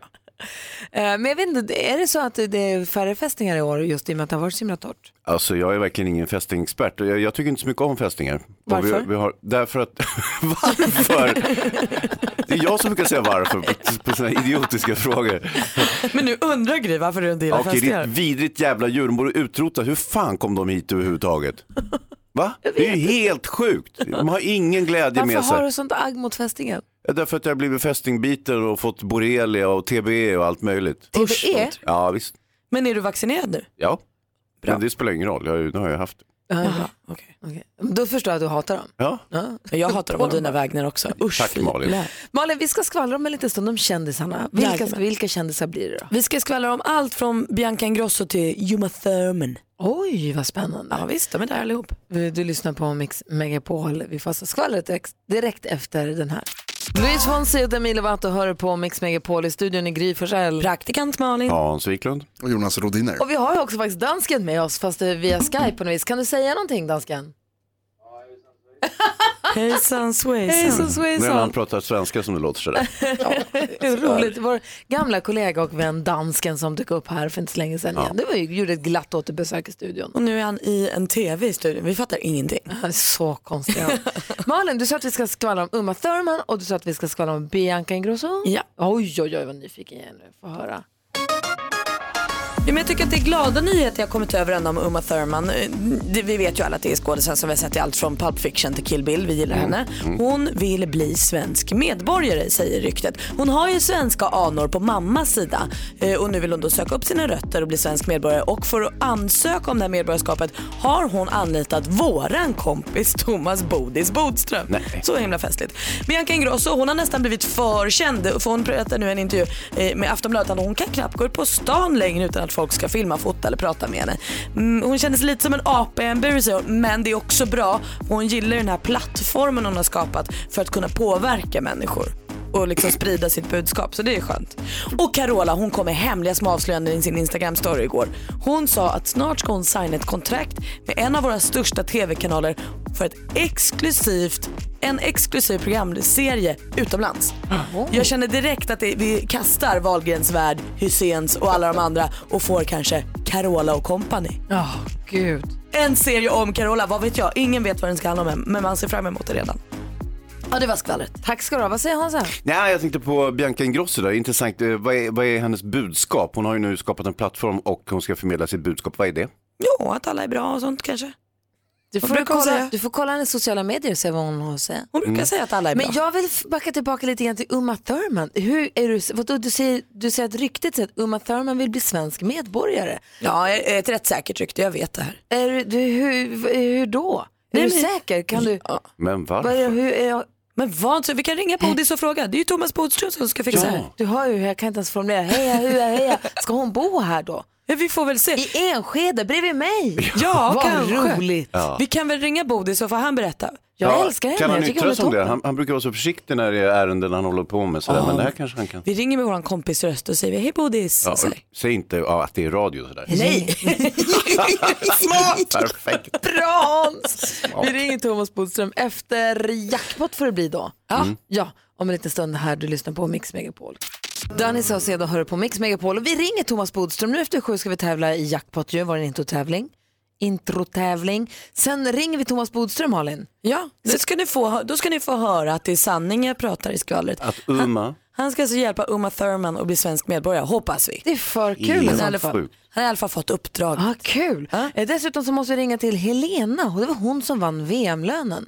[SPEAKER 1] Eh, men jag vet inte, är det så att det är färre fästingar i år just i och med att det har varit så himla torrt?
[SPEAKER 2] Alltså jag är verkligen ingen fästingexpert. Jag, jag tycker inte så mycket om fästingar. Och
[SPEAKER 1] Varför?
[SPEAKER 2] Vi, vi har, därför att, varför? Det är jag som brukar säga varför på, på sådana här idiotiska frågar.
[SPEAKER 3] Men nu undrar Gry varför du inte gillar
[SPEAKER 2] Okej, det är ett
[SPEAKER 3] fästingar.
[SPEAKER 2] vidrigt jävla djur, de borde utrotas. Hur fan kom de hit överhuvudtaget? Va? Det är ju helt sjukt. De har ingen glädje
[SPEAKER 1] Varför
[SPEAKER 2] med sig.
[SPEAKER 1] har du sånt agg mot fästingen?
[SPEAKER 2] Därför att jag har blivit fästingbiten och fått borrelia och TBE och allt möjligt.
[SPEAKER 3] TBE?
[SPEAKER 2] Usch, vad ont. Ja, visst.
[SPEAKER 3] Men är du vaccinerad nu?
[SPEAKER 2] Ja. Men det spelar ingen roll, jag, har ju- nu har jag haft det.
[SPEAKER 1] Jaha, okej. Då förstår jag att du hatar dem.
[SPEAKER 2] Ja.
[SPEAKER 3] Jag hatar dem på dina vägnar också. Usch,
[SPEAKER 2] Tack,
[SPEAKER 3] fy.
[SPEAKER 2] Malin.
[SPEAKER 3] Lä.
[SPEAKER 1] Malin, vi ska skvallra om en liten stund om kändisarna. Vilka,
[SPEAKER 3] Jajamän.
[SPEAKER 1] vilka kändisar blir det då?
[SPEAKER 3] Vi ska skvallra om allt från Bianca Ingrosso till Uma Thurman.
[SPEAKER 1] Oj, vad spännande.
[SPEAKER 3] Ja visst, de är där allihop.
[SPEAKER 1] Du du lyssnar på Mix Megapol. Vi får alltså skvallret direkt- direkt efter den här. Luis Fonsi och Demi Lovato hör på Mix Megapol i studion i Gry Forssell.
[SPEAKER 3] Praktikant Malin.
[SPEAKER 2] Hans Wiklund.
[SPEAKER 9] Och Jonas Rodiner.
[SPEAKER 1] Och vi har ju också faktiskt dansken med oss, fast eh, via Skype på något vis. Kan du säga någonting dansken?
[SPEAKER 3] Hejsan svejsan.
[SPEAKER 1] Hejsan
[SPEAKER 2] Nu när han
[SPEAKER 1] svejsan.
[SPEAKER 2] pratar svenska som det låter sådär.
[SPEAKER 1] Roligt. Vår gamla kollega och vän dansken som dök upp här för inte så länge sedan igen. Det var ju, gjorde ett glatt återbesök i studion.
[SPEAKER 3] Och nu är han i en tv i studion. Vi fattar ingenting.
[SPEAKER 1] Han är Så konstig. han. Malin, du sa att vi ska skvallra om Uma Thurman och du sa att vi ska skvallra om Bianca Ingrosso.
[SPEAKER 3] Ja.
[SPEAKER 1] Oj, oj, oj, vad nyfiken jag är nu. Få höra.
[SPEAKER 3] Ja, men jag tycker att det är glada nyheter jag kommit över ändå om Uma Thurman. Eh, det- Vi vet ju alla att det är skådisen som vi har sett i allt från Pulp Fiction till Kill Bill. Vi gillar henne. Hon vill bli svensk medborgare säger ryktet. Hon har ju svenska anor på mammas sida Eh, och nu vill hon då söka upp sina rötter och bli svensk medborgare och för att ansöka om det här medborgarskapet har hon anlitat våran kompis Thomas Bodis Bodström. Så himla festligt. Bianca Ingrosso hon har nästan blivit för känd för hon berättar nu i en intervju eh, med Aftonbladet att hon kan knappt gå ut på stan längre utan att folk ska filma, fota eller prata med henne. Mm, hon kändes lite som en apa i en bur säger hon, men det är också bra och hon gillar den här plattformen hon har skapat för att kunna påverka människor och liksom sprida sitt budskap. Så det är skönt. Och Carola hon kom med hemliga små avslöjanden i sin Instagram-story igår. Hon sa att snart ska hon signa ett kontrakt med en av våra största tv-kanaler för ett exklusivt, en exklusiv programserie utomlands. Jag känner direkt att det, vi kastar Wahlgrens värld, Hyséns och alla de andra och får kanske Carola och company.
[SPEAKER 1] Ja, gud.
[SPEAKER 3] En serie om Carola, vad vet jag? Ingen vet vad den ska handla om än, men man ser fram emot det redan. Ja, det var skvallret.
[SPEAKER 1] Tack ska du ha. Vad säger han så här?
[SPEAKER 2] Nej, jag tänkte på Bianca Ingrosso där. Intressant, eh, vad är, vad är hennes budskap? Hon har ju nu skapat en plattform och hon ska förmedla sitt budskap. Vad är det?
[SPEAKER 3] Jo, att alla är bra och sånt kanske.
[SPEAKER 1] Du får,
[SPEAKER 3] brukar hon
[SPEAKER 1] kolla,
[SPEAKER 3] säga?
[SPEAKER 1] du får kolla hennes sociala medier och se vad hon har att säga.
[SPEAKER 3] Hon brukar säga att alla är bra.
[SPEAKER 1] Men jag vill f- backa tillbaka lite grann till Uma Thurman. Hur är du, vadå, du, säger, du säger att ryktet säger att Uma Thurman vill bli svensk medborgare.
[SPEAKER 3] Ja, ett rätt säkert rykte, jag vet det här.
[SPEAKER 1] Är du, du, hur, hur då? Är du
[SPEAKER 3] men-
[SPEAKER 1] säker? Kan du,
[SPEAKER 2] Men
[SPEAKER 1] vad är,
[SPEAKER 2] varför?
[SPEAKER 1] hur är jag,
[SPEAKER 3] Men vad, så vi kan ringa Bodis och fråga. Det är ju Thomas Bodström som ska fixa det här.
[SPEAKER 1] du hör ju hur jag kan inte ens formulera. Heja, heja, heja. Ska hon bo här då?
[SPEAKER 3] Ja, vi får väl se.
[SPEAKER 1] I Enskede bredvid mig?
[SPEAKER 3] Ja,
[SPEAKER 1] Vad
[SPEAKER 3] kanske.
[SPEAKER 1] roligt.
[SPEAKER 3] Vi kan väl ringa Bodis och få han berätta.
[SPEAKER 1] Jag älskar henne.
[SPEAKER 2] Kan han
[SPEAKER 1] jag tycker
[SPEAKER 2] yttra
[SPEAKER 1] hon är
[SPEAKER 2] sig om det?
[SPEAKER 1] toppen.
[SPEAKER 2] Han, han brukar vara så försiktig när det är ärenden han håller på med. Sådär. Men det här kanske han kan.
[SPEAKER 3] Vi ringer med vår kompis röst och säger vi, hej Bodis.
[SPEAKER 2] Ja,
[SPEAKER 3] Så här.
[SPEAKER 2] säg inte ja, att det är radio sådär.
[SPEAKER 1] Nej.
[SPEAKER 2] Perfekt.
[SPEAKER 1] Bra Hans! Vi ringer Thomas Bodström efter jackpot får det bli då. Ja. ja, om en liten stund här. Du lyssnar på Mix Megapol. Danny Saucedo hör på Mix Megapol och vi ringer Thomas Bodström. Nu efter sju ska vi tävla i jackpot ju, var det en introtävling. Introtävling. Sen ringer vi Thomas Bodström, Malin.
[SPEAKER 3] Ja, det ska ni få, då ska ni få höra att det är sanning jag pratar i skvallret.
[SPEAKER 2] Att Uma,
[SPEAKER 3] Han ska alltså hjälpa Uma Thurman att bli svensk medborgare, hoppas vi.
[SPEAKER 1] Det är för kul i
[SPEAKER 2] Helt
[SPEAKER 3] Han har i alla
[SPEAKER 1] så
[SPEAKER 3] fall-
[SPEAKER 1] fall.
[SPEAKER 2] sjukt.
[SPEAKER 3] han har i alla fall fått uppdrag.
[SPEAKER 1] Ah, kul.
[SPEAKER 3] Ja.
[SPEAKER 1] Eh, Dessutom så måste vi ringa till Helena och det var hon som vann VM-lönen.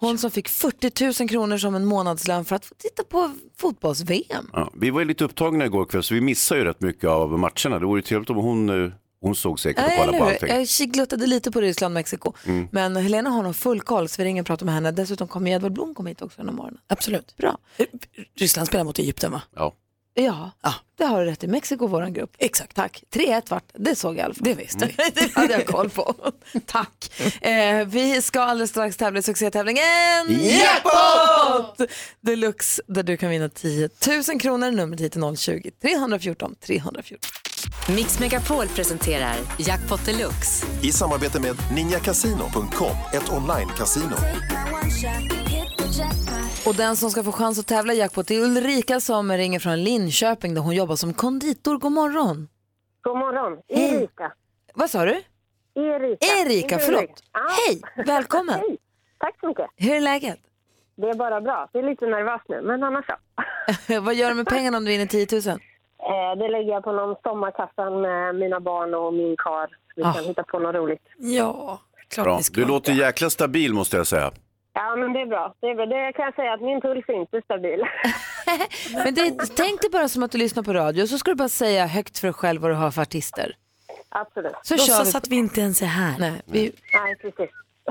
[SPEAKER 1] Hon som fick 40 000 kronor som en månadslön för att få titta på fotbolls-VM.
[SPEAKER 2] ja, vi var ju lite upptagna igår kväll så vi missade ju rätt mycket av matcherna. Det vore ju trevligt om hon, eh, hon såg säkert och
[SPEAKER 1] Nej,
[SPEAKER 2] kollade på
[SPEAKER 1] eller hur?
[SPEAKER 2] allting. Mm.
[SPEAKER 1] Jag kikluttade lite på Ryssland Mexiko. Men Helena har nog full koll så vi ringer och pratar med henne. Dessutom kommer Edvard Blom komma hit också den här morgonen.
[SPEAKER 3] Absolut.
[SPEAKER 1] Bra.
[SPEAKER 3] Ryssland spelar mot Egypten va?
[SPEAKER 2] Ja.
[SPEAKER 1] Ja, det har du rätt i. Mexiko, våran grupp.
[SPEAKER 3] Exakt.
[SPEAKER 1] Tack. 3-1 vart det såg jag i alla fall.
[SPEAKER 3] Det visste vi.
[SPEAKER 1] det hade jag koll på. Tack. Eh, vi ska alldeles strax tävla i succétävlingen Jackpot! Deluxe där du kan vinna 10 000 kronor. Numret hit är 020 314 314.
[SPEAKER 10] Mix Megapol presenterar Jackpot Deluxe.
[SPEAKER 9] I samarbete med ninjakasino.com, ett online-casino.
[SPEAKER 1] Och den som ska få chans att tävla i jackpot är Ulrika som ringer från Linköping där hon jobbar som konditor. God morgon.
[SPEAKER 11] God morgon. Erika.
[SPEAKER 1] Vad sa du?
[SPEAKER 11] Erika.
[SPEAKER 1] Erika, förlåt.
[SPEAKER 11] Ja.
[SPEAKER 1] Hej, välkommen.
[SPEAKER 11] Hej. Tack så mycket.
[SPEAKER 1] Hur är läget?
[SPEAKER 11] Det är bara bra. Jag är lite nervös nu, men annars så.
[SPEAKER 1] Vad gör du med pengarna om du vinner 10 000?
[SPEAKER 11] Eh, Det lägger jag på någon sommarkassa med mina barn och min kar. Vi kan
[SPEAKER 1] Ah.
[SPEAKER 11] hitta på något roligt.
[SPEAKER 3] Ja, klart
[SPEAKER 2] Bra.
[SPEAKER 3] vi ska.
[SPEAKER 2] Du låter jäkla stabil måste jag säga.
[SPEAKER 11] Ja, men det är bra. Det, är bra. det kan jag säga att min puls är inte stabil.
[SPEAKER 1] Men det, tänk dig bara som att du lyssnar på radio så ska du bara säga högt för dig själv vad du har för artister.
[SPEAKER 11] Absolut.
[SPEAKER 1] Så kör vi.
[SPEAKER 3] Låtsas att vi inte ens är här.
[SPEAKER 1] Nej, vi,
[SPEAKER 11] Nej, precis.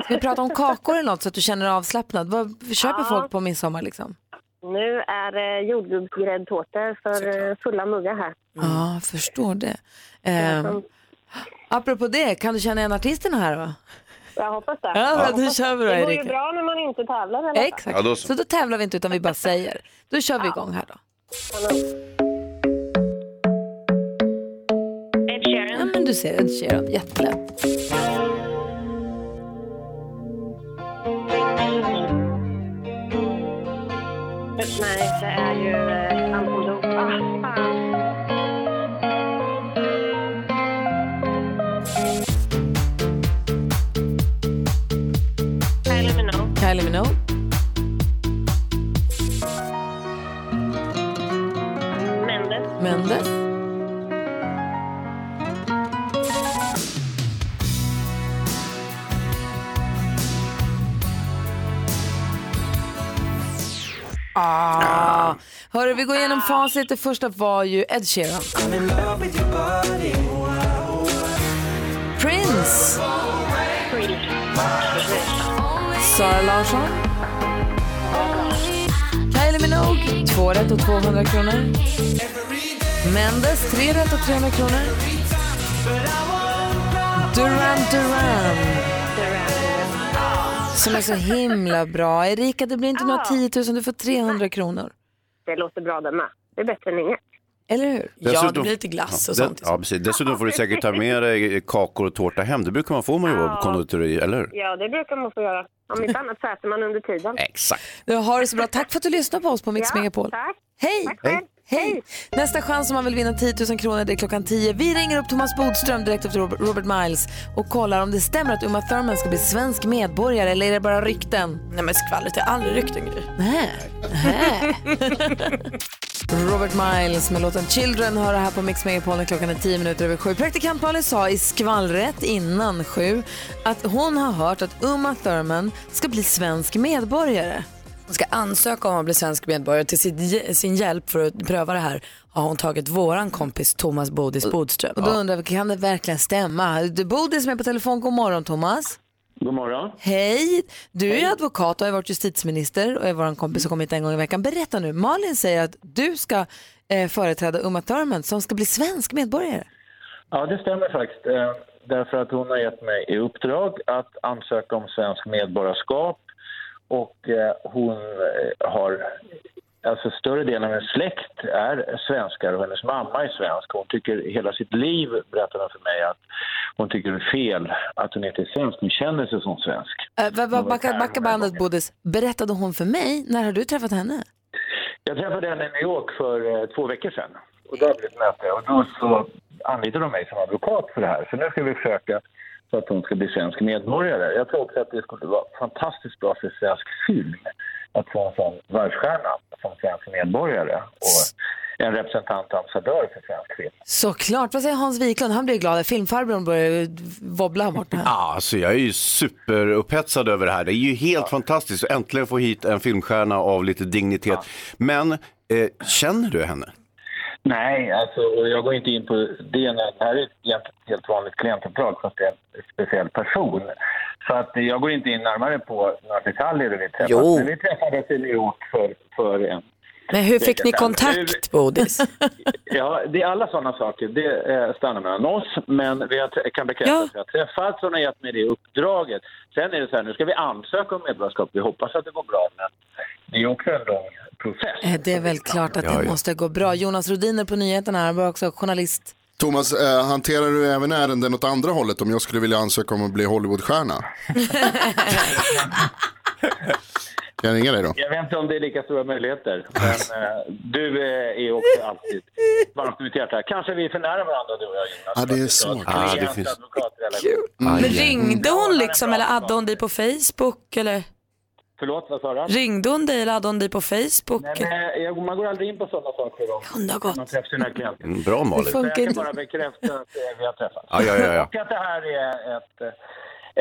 [SPEAKER 1] vi pratar om kakor eller något så att du känner dig avslappnad. Vad köper
[SPEAKER 11] Ja.
[SPEAKER 1] folk på midsommar liksom?
[SPEAKER 11] Nu är det jordgubbsgräddtårtor för eh, fulla muggar här.
[SPEAKER 1] Ja,
[SPEAKER 3] Mm.
[SPEAKER 1] förstår det. Um, apropå det, kan du känna igen artisterna här då?
[SPEAKER 11] Jag hoppas det.
[SPEAKER 1] Ja,
[SPEAKER 11] Jag
[SPEAKER 1] men då
[SPEAKER 11] hoppas
[SPEAKER 1] kör vi då,
[SPEAKER 11] Det går ju
[SPEAKER 1] Erika.
[SPEAKER 11] bra när man inte tävlar. i alla fall.
[SPEAKER 1] Exakt. så. då tävlar vi inte utan vi bara säger. Då kör vi igång här då.
[SPEAKER 11] Ed Sheeran.
[SPEAKER 1] Ja, men du ser, Ed Sheeran. Jättelätt.
[SPEAKER 11] Nej, det är ju eh, Anton Doof. Ah, fan. Kylie Minogue.
[SPEAKER 1] Kylie Minogue.
[SPEAKER 11] Mendes.
[SPEAKER 1] Mendes. Ah. Hörru, vi går igenom facit. Det första var ju Ed Sheeran. Prince. Sara Larsson. Kylie Minogue. Två rätt och 200 kronor. Mendes. Tre rätt och 300 kronor. Duran Duran. Som är så himla bra. Erika, det blir inte några 10 000. Du får 300 kronor.
[SPEAKER 11] Det låter bra det med. Det är bättre än inget.
[SPEAKER 1] Eller hur?
[SPEAKER 2] Ja, det- Ja, precis. Dessutom får du säkert ta med dig kakor och tårta hem. Det brukar man få om man jobbar på konditori, eller hur?
[SPEAKER 11] Ja, det brukar man få göra. Om inte annat så äter man under tiden.
[SPEAKER 2] Exakt.
[SPEAKER 1] Du har det så bra. Tack för att du lyssnade på oss på Mix Megapol. Hej!
[SPEAKER 2] Hej.
[SPEAKER 1] Hej! Nästa chans om man vill vinna 10 000 kronor det är klockan 10. Vi ringer upp Thomas Bodström direkt efter Robert- Robert Miles och kollar om det stämmer att Uma Thurman ska bli svensk medborgare eller är det bara rykten?
[SPEAKER 3] Nej men skvallret, det är aldrig rykten Gry.
[SPEAKER 1] Nej. Nej. Robert Miles med låten Children hör det här på Mix Megapol när klockan är 10 minuter över sju. Praktikant Malin sa i skvallret innan sju att hon har hört att Uma Thurman ska bli svensk medborgare.
[SPEAKER 3] Hon ska ansöka om att bli svensk medborgare. Till sitt, sin hjälp för att pröva det här har hon tagit våran kompis Thomas Bodis Bodström.
[SPEAKER 1] Och då undrar vi, kan det verkligen stämma? Du Bodil som är på telefon, god morgon Thomas.
[SPEAKER 12] God morgon.
[SPEAKER 1] Hej! Du är ju advokat och har varit justitieminister och är vår kompis och kommer hit en gång i veckan. Berätta nu, Malin säger att du ska eh, företräda Uma Thurman som ska bli svensk medborgare.
[SPEAKER 12] Ja, det stämmer faktiskt. Eh, Därför att hon har gett mig i uppdrag att ansöka om svensk medborgarskap och eh, hon eh, har, alltså större delen av hennes släkt är svenskar och hennes mamma är svensk. Hon tycker hela sitt liv, berättar hon för mig, att hon tycker det är fel att hon inte är svensk, hon känner sig som svensk.
[SPEAKER 1] Eh, va- va- backa, backa bandet Bodis, berättade hon för mig, när har du träffat henne?
[SPEAKER 12] Jag träffade henne i New York för eh, två veckor sedan. Och då hade vi ett möte och då så anlitade de mig som advokat för det här. Så nu ska vi försöka så att hon ska bli svensk medborgare. Jag tror också att det skulle vara fantastiskt bra för svensk film att få en sån världsstjärna som svensk medborgare och en representant och ambassadör för svensk film.
[SPEAKER 1] Såklart, vad säger Hans Wiklund? Han blir glad, filmfarbrorn börjar ju wobbla här borta.
[SPEAKER 2] Ja, alltså jag är ju superupphetsad över det här. Det är ju helt fantastiskt att äntligen få hit en filmstjärna av lite dignitet. Men eh, känner du henne?
[SPEAKER 12] Nej, alltså, och jag går inte in på det. när- Det här är ett helt- helt vanligt klientuppdrag fast det är en speciell person. Så att jag går inte in närmare på några detaljer hur vi träffades.
[SPEAKER 3] Jo.
[SPEAKER 12] Men vi träffades i New York för, för en...
[SPEAKER 3] Men hur fick ni kontakt Bodis?
[SPEAKER 12] Ja, det är alla sådana saker. Det eh, stannar mellan oss. Men vi har, jag kan bekräfta att vi har träffats. Hon har gett mig det uppdraget. Sen är det så här, nu ska vi ansöka om medborgarskap. Vi hoppas att det går bra. Men det är också en lång process.
[SPEAKER 1] Eh, Det är väl klart att det
[SPEAKER 12] Ja, ja.
[SPEAKER 1] måste gå bra. Jonas Rodiner på nyheterna, han var också journalist.
[SPEAKER 13] Thomas, eh, hanterar du även ärenden åt andra hållet om jag skulle vilja ansöka om att bli Hollywoodstjärna? kan jag ringa dig då?
[SPEAKER 12] Jag vet inte om det är lika stora möjligheter. Men eh, du eh, är också alltid varmt i mitt hjärta. Kanske vi är för nära varandra du och jag Jonas.
[SPEAKER 13] Ja, det är så.
[SPEAKER 12] Ah,
[SPEAKER 13] kanske.
[SPEAKER 12] det finns- Advokatrelation.
[SPEAKER 3] Men
[SPEAKER 13] Aj,
[SPEAKER 3] ringde hon liksom eller addade hon dig på Facebook eller?
[SPEAKER 12] Förlåt, vad sa du?
[SPEAKER 3] Ringde hon dig eller addade hon dig på Facebook?
[SPEAKER 12] Nej, men eh, jag, man går aldrig in på sådana saker om
[SPEAKER 3] Kunde ha gått.
[SPEAKER 12] man träffar sina klienter.
[SPEAKER 2] Mm, bra
[SPEAKER 12] Så
[SPEAKER 2] Malin.
[SPEAKER 12] jag kan bara bekräfta att eh, vi har träffats.
[SPEAKER 2] Ja, ja, ja, ja.
[SPEAKER 12] Och att det här är ett, eh,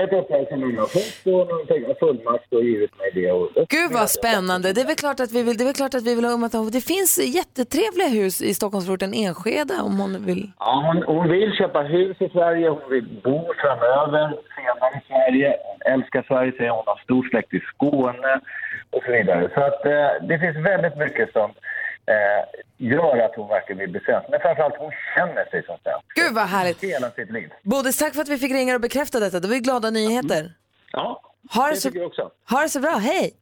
[SPEAKER 12] ett uppdrag som hon har fått och någon typ av fullmakt och givit mig det. Och,
[SPEAKER 1] Gud vad spännande. Det är väl klart att vi vill, det är väl klart att vi vill ha umgått. Det finns jättetrevliga hus i Stockholmsförorten Enskede om hon vill.
[SPEAKER 12] Ja, hon, hon vill köpa hus i Sverige, hon vill bo framöver, senare i Sverige. Hon älskar Sverige, säger hon har stor släkt i Skåne och så vidare. Så att, eh, det finns väldigt mycket som eh, gör att hon verkligen vill bli svensk. Men framförallt hon känner sig som svensk.
[SPEAKER 1] Gud vad härligt.
[SPEAKER 12] Hela sitt liv.
[SPEAKER 1] Bodis, tack för att vi fick ringa och bekräfta detta. Det var ju glada nyheter.
[SPEAKER 12] Ja,
[SPEAKER 1] Ha det,
[SPEAKER 12] det
[SPEAKER 1] så,
[SPEAKER 12] tycker jag också.
[SPEAKER 1] ha det så bra, hej!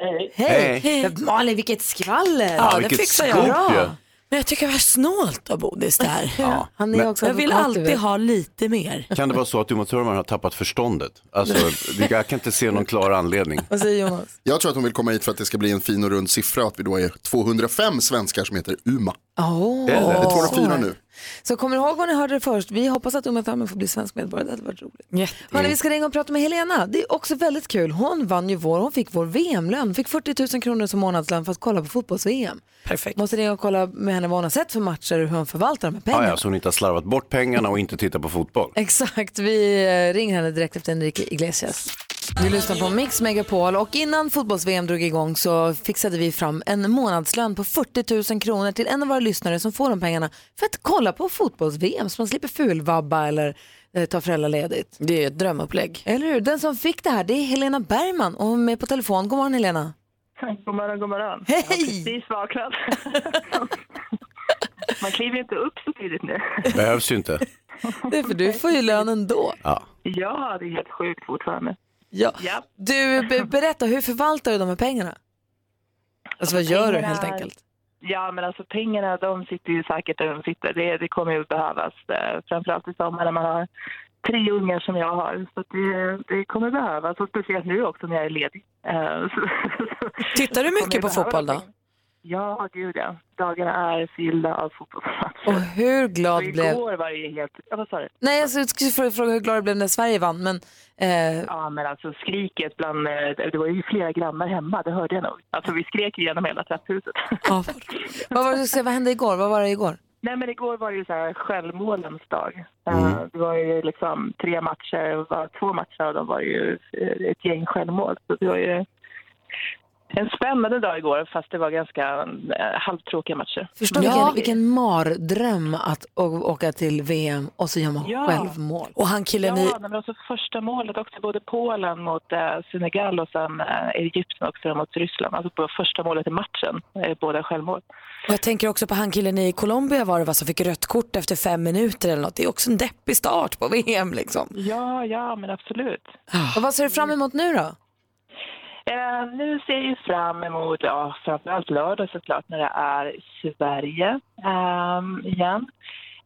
[SPEAKER 12] Hej!
[SPEAKER 1] Hej!
[SPEAKER 3] Hej.
[SPEAKER 1] Men Malin, vilket skvaller!
[SPEAKER 3] Ja, det fixar jag.
[SPEAKER 1] Bra.
[SPEAKER 3] Men jag tycker det var snålt av Bodis det här.
[SPEAKER 1] Han är
[SPEAKER 2] Men-
[SPEAKER 1] också
[SPEAKER 3] jag vill
[SPEAKER 1] advokat, du
[SPEAKER 3] alltid
[SPEAKER 1] vet.
[SPEAKER 3] ha lite mer.
[SPEAKER 2] Kan det vara så att Uma Thurman har tappat förståndet? Alltså, jag kan inte se någon klar anledning.
[SPEAKER 1] Vad säger Jonas?
[SPEAKER 13] Jag tror att hon vill komma hit för att det ska bli en fin och rund siffra och att vi då är 205 svenskar som heter Uma.
[SPEAKER 1] Oh.
[SPEAKER 13] det är 204 nu.
[SPEAKER 1] Så kommer ni ihåg vad ni hörde det först? Vi hoppas att Uma Thurman får bli svensk medborgare, det hade varit roligt. Hörni, vi ska ringa och prata med Helena. Det är också väldigt kul. Hon vann ju vår, hon fick vår VM-lön. Hon fick 40 000 kronor som månadslön för att kolla på fotbolls-VM.
[SPEAKER 3] Perfekt.
[SPEAKER 1] Måste ringa och kolla med henne vad hon har sett för matcher och hur hon förvaltar de här pengarna.
[SPEAKER 2] Ah, ja, så hon inte har slarvat bort pengarna och inte tittar på fotboll.
[SPEAKER 1] Exakt, vi eh, ringer henne direkt efter Enrique Iglesias. Du lyssnar på Mix Megapol och innan fotbolls-VM drog igång så fixade vi fram en månadslön på 40 000 kronor till en av våra lyssnare som får de pengarna för att kolla på fotbolls-VM så man slipper fulvabba eller eh, ta föräldraledigt.
[SPEAKER 3] Det är ju ett drömupplägg.
[SPEAKER 1] Eller hur? Den som fick det här det är Helena Bergman och hon är med på telefon. God morgon Helena.
[SPEAKER 14] God morgon, god morgon. Hej! Jag har precis vaknat. Man kliver ju inte upp så tidigt nu.
[SPEAKER 2] Behövs ju inte.
[SPEAKER 1] Det är för du får ju lön ändå.
[SPEAKER 2] Ja.
[SPEAKER 14] Ja, det är helt sjukt fortfarande.
[SPEAKER 1] Ja. Du, be- berätta, hur förvaltar du de här pengarna? Alltså vad gör du helt
[SPEAKER 14] Pengarna-
[SPEAKER 1] enkelt?
[SPEAKER 14] Ja, men alltså pengarna de sitter ju säkert där de sitter. Det, det kommer ju behövas, eh, framförallt i sommar när man har tre ungar som jag har. Så att det, det kommer behövas, och speciellt nu också när jag är ledig. Eh, så-
[SPEAKER 3] Tittar du
[SPEAKER 14] kommer
[SPEAKER 3] mycket
[SPEAKER 14] jag
[SPEAKER 3] på
[SPEAKER 14] behöva
[SPEAKER 3] fotboll då?
[SPEAKER 14] pengar. Ja, gud ja. Dagarna är fyllda av fotbollsmatcher.
[SPEAKER 1] Och hur glad
[SPEAKER 14] Så igår
[SPEAKER 1] blev...
[SPEAKER 14] var det ju helt... Ja, vad sa du?
[SPEAKER 1] Nej, alltså, jag skulle fråga- fråga hur glad du blev när Sverige vann, men eh,
[SPEAKER 14] Ja, men alltså skriket bland... eh, Det var ju flera grannar hemma, det hörde jag nog. Alltså vi skrek ju genom hela trapphuset.
[SPEAKER 1] vad, var det, du skulle säga? vad hände igår? Vad var det igår?
[SPEAKER 14] Nej, men igår var det ju så här självmålens dag. Eh, Det var ju liksom tre matcher, var två matcher av dem var ju eh, ett gäng självmål. Så det var ju en spännande dag igår, fast det var ganska eh, halvtråkiga matcher.
[SPEAKER 1] Förstår vilken, vilken
[SPEAKER 3] eh,
[SPEAKER 1] mardröm att å- åka till VM och så gör man
[SPEAKER 14] Ja.
[SPEAKER 1] självmål.
[SPEAKER 3] Och han killen
[SPEAKER 14] ja,
[SPEAKER 3] i...
[SPEAKER 14] men också första målet också, både Polen mot eh, Senegal och sen eh, Egypten också mot Ryssland. Alltså på första målet i matchen, eh, båda självmål.
[SPEAKER 3] Och jag tänker också på han killen i Colombia var det va som fick rött kort efter fem minuter eller något. Det är också en deppig start på VM liksom.
[SPEAKER 14] Ja, ja, men absolut.
[SPEAKER 1] Och vad ser du fram emot nu då?
[SPEAKER 14] Eh, nu ser jag ju fram emot, ja, framförallt lördag såklart, när det är Sverige ehm, igen.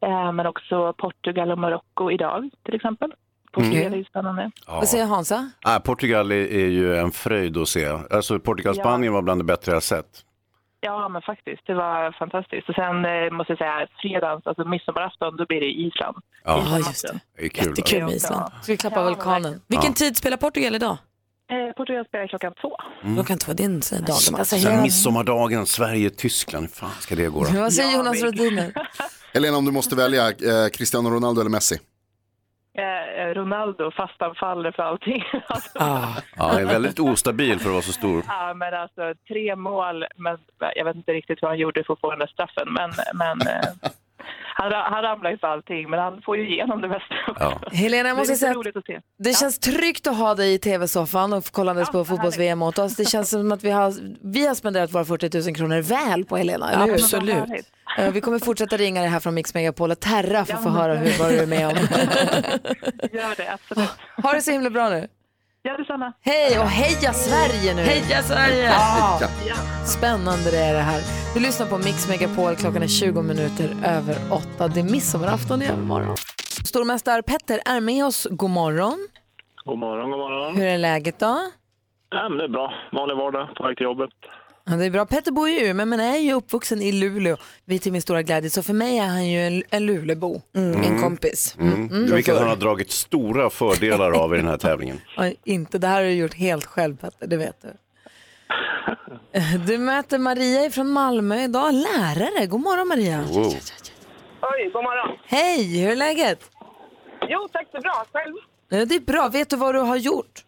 [SPEAKER 14] Eh, men också Portugal och Marocko idag, till exempel. Portugal är ju spännande.
[SPEAKER 2] Ja. Vad säger
[SPEAKER 1] Hansa?
[SPEAKER 2] Ah, Portugal är, är ju en fröjd att se. Alltså, Portugal-Spanien var bland det bättre jag sett.
[SPEAKER 14] Ja, men faktiskt. Det var fantastiskt. Och sen eh, måste jag säga, fredagens, alltså midsommarafton, då blir det Island.
[SPEAKER 2] Ja,
[SPEAKER 3] just det.
[SPEAKER 2] Det är kul.
[SPEAKER 3] Jättekul med
[SPEAKER 2] alltså.
[SPEAKER 3] Island.
[SPEAKER 1] Ska vi klappa vulkanen?
[SPEAKER 3] Vilken tid spelar Portugal idag?
[SPEAKER 14] Eh, Portugal spelar klockan två.
[SPEAKER 3] Mm. Klockan två, det är en sån här dag de har.
[SPEAKER 1] alltså,
[SPEAKER 2] Sen midsommardagen, Sverige-Tyskland, hur fan ska det gå då?
[SPEAKER 1] Vad säger Jonas Rhodiner?
[SPEAKER 13] Helena, om du måste välja eh, Cristiano Ronaldo eller Messi?
[SPEAKER 14] Eh, Ronaldo, fast han faller för allting. alltså,
[SPEAKER 2] Ja, han är väldigt ostabil för att vara så stor.
[SPEAKER 14] Ja, men alltså tre mål, men jag vet inte riktigt vad han gjorde för att få den där straffen, men, men eh, han, ra- han ramlar ju för allting, men han får ju igenom det mesta. också.
[SPEAKER 1] Helena, jag
[SPEAKER 14] Det är
[SPEAKER 1] måste
[SPEAKER 14] lite
[SPEAKER 1] säga att
[SPEAKER 14] roligt att se.
[SPEAKER 1] det känns tryggt att ha dig i tv-soffan och kollandes på fotbolls-VM åt oss. Det känns som att vi har, vi har spenderat våra 40 000 kronor väl på Helena, eller hur?
[SPEAKER 3] Absolut. Ja,
[SPEAKER 1] Eh, Vi kommer fortsätta ringa dig här från Mix Megapol och Terra för att få
[SPEAKER 14] men
[SPEAKER 1] höra
[SPEAKER 14] gör
[SPEAKER 1] hur, vad du är
[SPEAKER 14] det.
[SPEAKER 1] med om.
[SPEAKER 14] Gör det, absolut.
[SPEAKER 1] Ha det så himla bra nu.
[SPEAKER 14] Ja, detsamma.
[SPEAKER 1] Hej och heja Sverige nu!
[SPEAKER 14] Heja Sverige!
[SPEAKER 1] Ja.
[SPEAKER 14] Ja.
[SPEAKER 1] Spännande det är det här. Du lyssnar på Mix Megapol, klockan är 20 minuter över 8. Det är midsommarafton i övermorgon. Stormästare Petter är med oss. God morgon.
[SPEAKER 15] God morgon, god morgon.
[SPEAKER 1] Hur är läget då?
[SPEAKER 15] Ja, men det är bra. Vanlig vardag, på väg till jobbet.
[SPEAKER 1] Ja, det är bra. Petter bor ju i Umeå men är ju uppvuxen i Luleå. Vi till min stora glädje, så för mig är han ju en, en Lulebo. En kompis.
[SPEAKER 2] Mm.
[SPEAKER 1] Mm.
[SPEAKER 2] Vilket han har dragit stora fördelar av i den här tävlingen.
[SPEAKER 1] Ja, inte. Det här har du gjort helt själv Petter, det vet du. Du möter Maria från Malmö idag, lärare. God morgon Maria.
[SPEAKER 2] Wow.
[SPEAKER 16] Oj, god morgon.
[SPEAKER 1] Hej, hur är läget?
[SPEAKER 16] Jo, tack så bra. Själv?
[SPEAKER 1] Nej, Det är bra. Vet du vad du har gjort?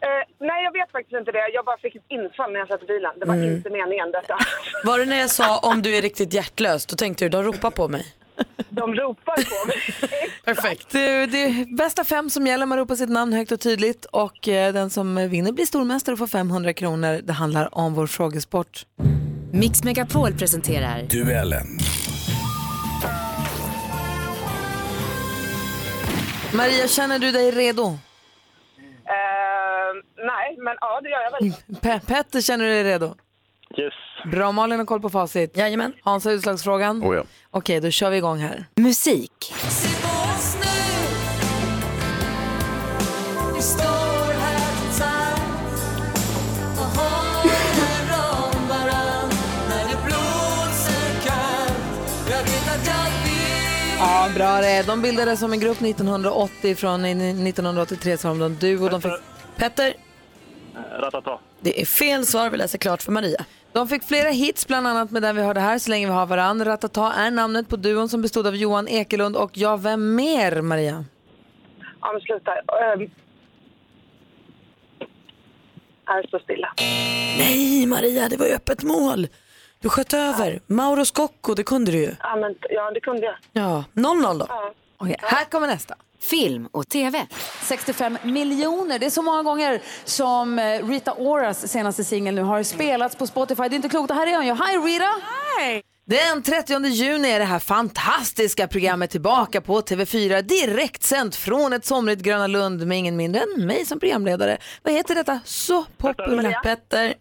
[SPEAKER 11] Eh, nej, jag vet faktiskt inte det. Jag bara fick ett infall när jag satt i bilen. Det var
[SPEAKER 3] Mm.
[SPEAKER 11] inte meningen detta.
[SPEAKER 3] Var det när jag sa om du är riktigt hjärtlös, då tänkte du de ropar på mig.
[SPEAKER 11] De ropar på mig.
[SPEAKER 1] Perfekt. Det, det är bästa fem som gäller. Man ropar sitt namn högt och tydligt. Och eh, den som vinner blir stormästare och får 500 kronor. Det handlar om vår frågesport.
[SPEAKER 10] Mix Megapol presenterar
[SPEAKER 16] Duellen.
[SPEAKER 1] Maria, känner du dig redo?
[SPEAKER 11] Eh, nej, men ja, det gör jag väl.
[SPEAKER 1] Pe- Petter, känner du dig redo?
[SPEAKER 15] Yes.
[SPEAKER 1] Bra, Malin har koll på facit. Jajamän. Hans har utslagsfrågan.
[SPEAKER 2] Oh, ja.
[SPEAKER 1] Okej, då kör vi igång här. Musik.
[SPEAKER 6] Vi står här tillsammans och håller om varann när det blåser kallt. Jag vet att jag vill
[SPEAKER 1] Ja, bra det. De bildades som en grupp 1980. Från i- 1983 så var de duo. De fick... Petter.
[SPEAKER 15] Ratata.
[SPEAKER 1] Det är fel svar, vi läser klart för Maria. De fick flera hits, bland annat med den vi hörde här, Så länge vi har varann. Ratata är namnet på duon som bestod av Johan Ekelund och ja, vem mer, Maria?
[SPEAKER 11] Ja, men sluta.
[SPEAKER 6] Ehm,
[SPEAKER 11] Um, är så stilla.
[SPEAKER 3] Nej Maria, det var ju öppet mål. Du sköt över. Mauro Scocco, det kunde du ju.
[SPEAKER 11] Ja, men, ja, det kunde jag.
[SPEAKER 3] Ja, 0-0 då.
[SPEAKER 1] Okej, här kommer nästa.
[SPEAKER 10] Film och TV.
[SPEAKER 17] 65 miljoner. Det är så många gånger som eh, Rita Oras senaste singel nu har spelats på Spotify. Det är inte klokt. Det här är hon ju. Hi Rita! Hi!
[SPEAKER 1] Den 30 juni är det här fantastiska programmet tillbaka på TV4, direkt sänt från ett somrigt Gröna Lund med ingen mindre än mig som programledare. Vad heter detta så populära Petter?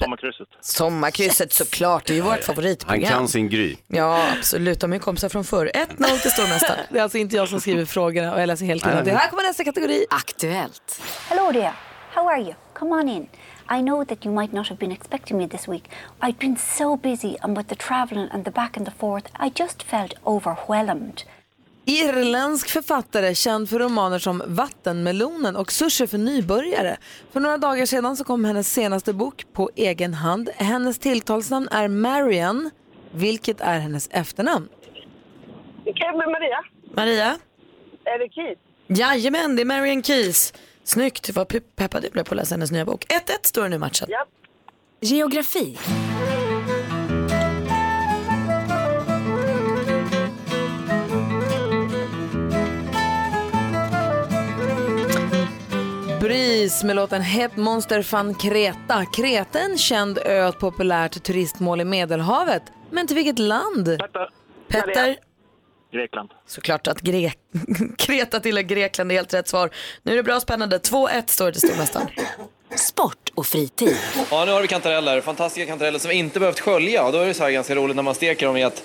[SPEAKER 15] Sommarkrysset.
[SPEAKER 3] Sommarkrysset såklart, det är ju vårt
[SPEAKER 2] Han
[SPEAKER 3] favoritprogram.
[SPEAKER 2] kan sin Gry.
[SPEAKER 3] Ja, absolut. De är ju kompisar från förr. 1-0 till stormästaren.
[SPEAKER 1] det är alltså inte jag som skriver frågorna och jag läser helt
[SPEAKER 3] Nej.
[SPEAKER 1] Det Här kommer nästa kategori.
[SPEAKER 10] Aktuellt.
[SPEAKER 18] Hello there. How are you? Come on in. I know that you might not have been expecting me this week. I've been so busy, and with the travelling and the back and the forth, I just felt overwhelmed.
[SPEAKER 1] Irländsk författare känd för romaner som Vattenmelonen och Sushi för nybörjare. För några dagar sedan så kom hennes senaste bok på egen hand. Hennes tilltalsnamn är Marian, vilket är hennes efternamn.
[SPEAKER 11] Okej, men Maria,
[SPEAKER 3] Maria?
[SPEAKER 11] är det Keith?
[SPEAKER 3] Jajamän, det är Marian Keys. Snyggt, vad pe- peppad jag blev på att läsa hennes nya bok. 1-1 står det nu i matchen.
[SPEAKER 10] Geografi.
[SPEAKER 1] Bris med låten Het Monster van Kreta. Kreta är en känd ö och ett populärt turistmål i Medelhavet. Men till vilket land?
[SPEAKER 3] Petter?
[SPEAKER 15] Grekland.
[SPEAKER 3] Såklart att Gre- Kreta tillhör Grekland, det är helt rätt svar. Nu är det bra spännande. 2-1 står det till stormästaren.
[SPEAKER 10] Sport och fritid.
[SPEAKER 19] Ja, nu har vi kantareller. Fantastiska kantareller som vi inte behövt skölja. Och då är det så här ganska roligt när man steker dem i att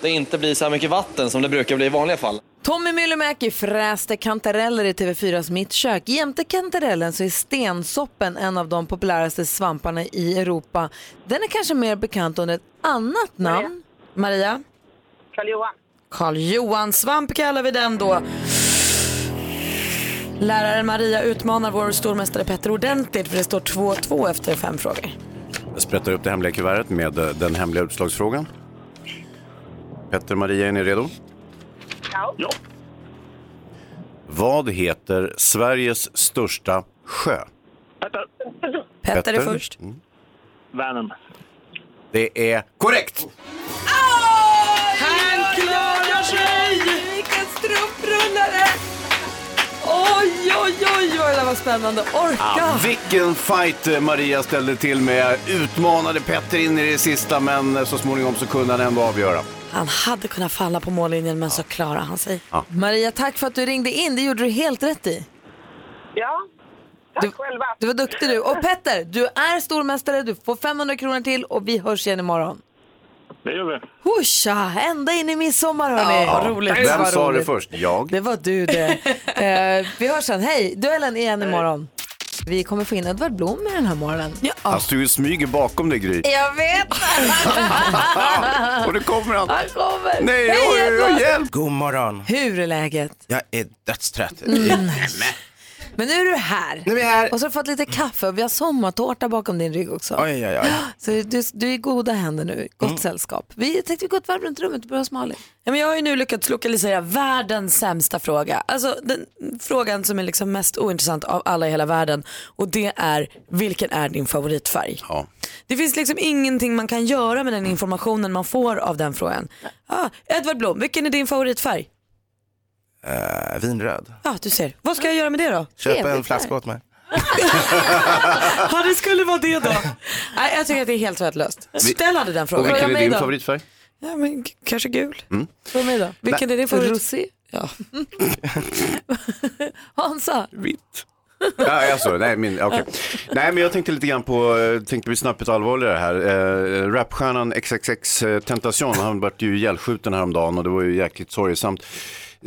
[SPEAKER 19] det inte blir så här mycket vatten som det brukar bli i vanliga fall.
[SPEAKER 1] Tommy Myllymäki fräste kantareller i TV4s Mitt kök. Jämte kantarellen så är stensoppen en av de populäraste svamparna i Europa. Den är kanske mer bekant under ett annat namn.
[SPEAKER 3] Maria?
[SPEAKER 11] Karl-Johan.
[SPEAKER 3] Karl Johan Svamp kallar vi den då. Läraren Maria utmanar vår stormästare Petter ordentligt för det står 2-2 efter fem frågor.
[SPEAKER 2] Jag sprättar upp det hemliga kuvertet med eh, den hemliga utslagsfrågan. Petter och Maria, är ni redo?
[SPEAKER 11] Ja.
[SPEAKER 2] Vad heter Sveriges största sjö?
[SPEAKER 3] Petter är först.
[SPEAKER 2] Mm.
[SPEAKER 15] Vänern.
[SPEAKER 2] Det är korrekt!
[SPEAKER 6] Han klarar sig!
[SPEAKER 1] Vilken strumprullare! Oj, oj, oj, vad det där var spännande.
[SPEAKER 2] Ah,
[SPEAKER 1] Orka!
[SPEAKER 2] vilken fight eh, Maria ställde till med. Utmanade Petter in i det sista men eh, så småningom så kunde han ändå avgöra.
[SPEAKER 3] Han hade kunnat falla på mållinjen men så klarar han sig.
[SPEAKER 1] Maria, tack för att du ringde in. Det gjorde du helt rätt i.
[SPEAKER 11] Ja, tack själva.
[SPEAKER 1] Du var duktig du. Och Petter, du är stormästare. Du får 500 kronor till och vi hörs igen imorgon.
[SPEAKER 15] Det gör vi.
[SPEAKER 1] Husha, ända in i midsommar hörni.
[SPEAKER 2] Vem
[SPEAKER 1] Vad
[SPEAKER 2] sa det
[SPEAKER 1] roligt.
[SPEAKER 2] först? Jag.
[SPEAKER 1] Det var du det. Eh, vi hörs sen. Hej, duellen igen imorgon. Vi kommer få in Edvard Blom i den här morgonen. Ja.
[SPEAKER 2] Alltså du smyger bakom dig Gry.
[SPEAKER 1] Jag vet!
[SPEAKER 2] och nu kommer han.
[SPEAKER 1] Han kommer.
[SPEAKER 2] Nej,
[SPEAKER 1] Hej,
[SPEAKER 2] oj, oj, oj,
[SPEAKER 1] Edvard.
[SPEAKER 2] hjälp!
[SPEAKER 20] God morgon.
[SPEAKER 1] Hur är läget?
[SPEAKER 20] Jag är dödstrött.
[SPEAKER 1] Mm.
[SPEAKER 20] Nämen.
[SPEAKER 1] Men nu är du här.
[SPEAKER 16] Nu är här.
[SPEAKER 1] Och så har du fått lite kaffe och vi har sommartårta bakom din rygg också.
[SPEAKER 16] Oj, oj, oj.
[SPEAKER 1] Så du, du är i goda händer nu, gott sällskap. Vi jag tänkte vi går ett varv runt rummet och börjar hos Malin.
[SPEAKER 3] Ja, men jag har ju nu lyckats lokalisera världens sämsta fråga. Alltså den frågan som är liksom mest ointressant av alla i hela världen. Och det är, vilken är din favoritfärg? Det finns liksom ingenting man kan göra med den informationen man får av den frågan. Ah, Edvard Blom, vilken är din favoritfärg?
[SPEAKER 16] Eh, vinröd.
[SPEAKER 3] Ja, du ser. Vad ska jag göra med det då?
[SPEAKER 16] Köp en flaska åt mig.
[SPEAKER 3] ja, det skulle vara det då. Nej, jag tycker att det är helt värdelöst.
[SPEAKER 16] Vi-
[SPEAKER 3] Ställ aldrig den frågan.
[SPEAKER 2] Och vilken
[SPEAKER 3] Fråga
[SPEAKER 2] är
[SPEAKER 3] mig
[SPEAKER 2] din
[SPEAKER 3] då.
[SPEAKER 2] favoritfärg?
[SPEAKER 3] Ja, men k- kanske gul.
[SPEAKER 2] Mm.
[SPEAKER 1] Fråga mig då.
[SPEAKER 3] Vilken
[SPEAKER 1] Nej.
[SPEAKER 3] är din favorit?
[SPEAKER 1] Rosé.
[SPEAKER 3] Ja.
[SPEAKER 1] Hansa.
[SPEAKER 2] Ja, alltså, nej, min, okej. nej, men jag tänkte lite grann på, eh, tänkte bli snabbt allvarligare här. Eh, rapstjärnan XXX eh, Tentacion, han vart ju ihjälskjuten häromdagen och det var ju jäkligt sorgesamt.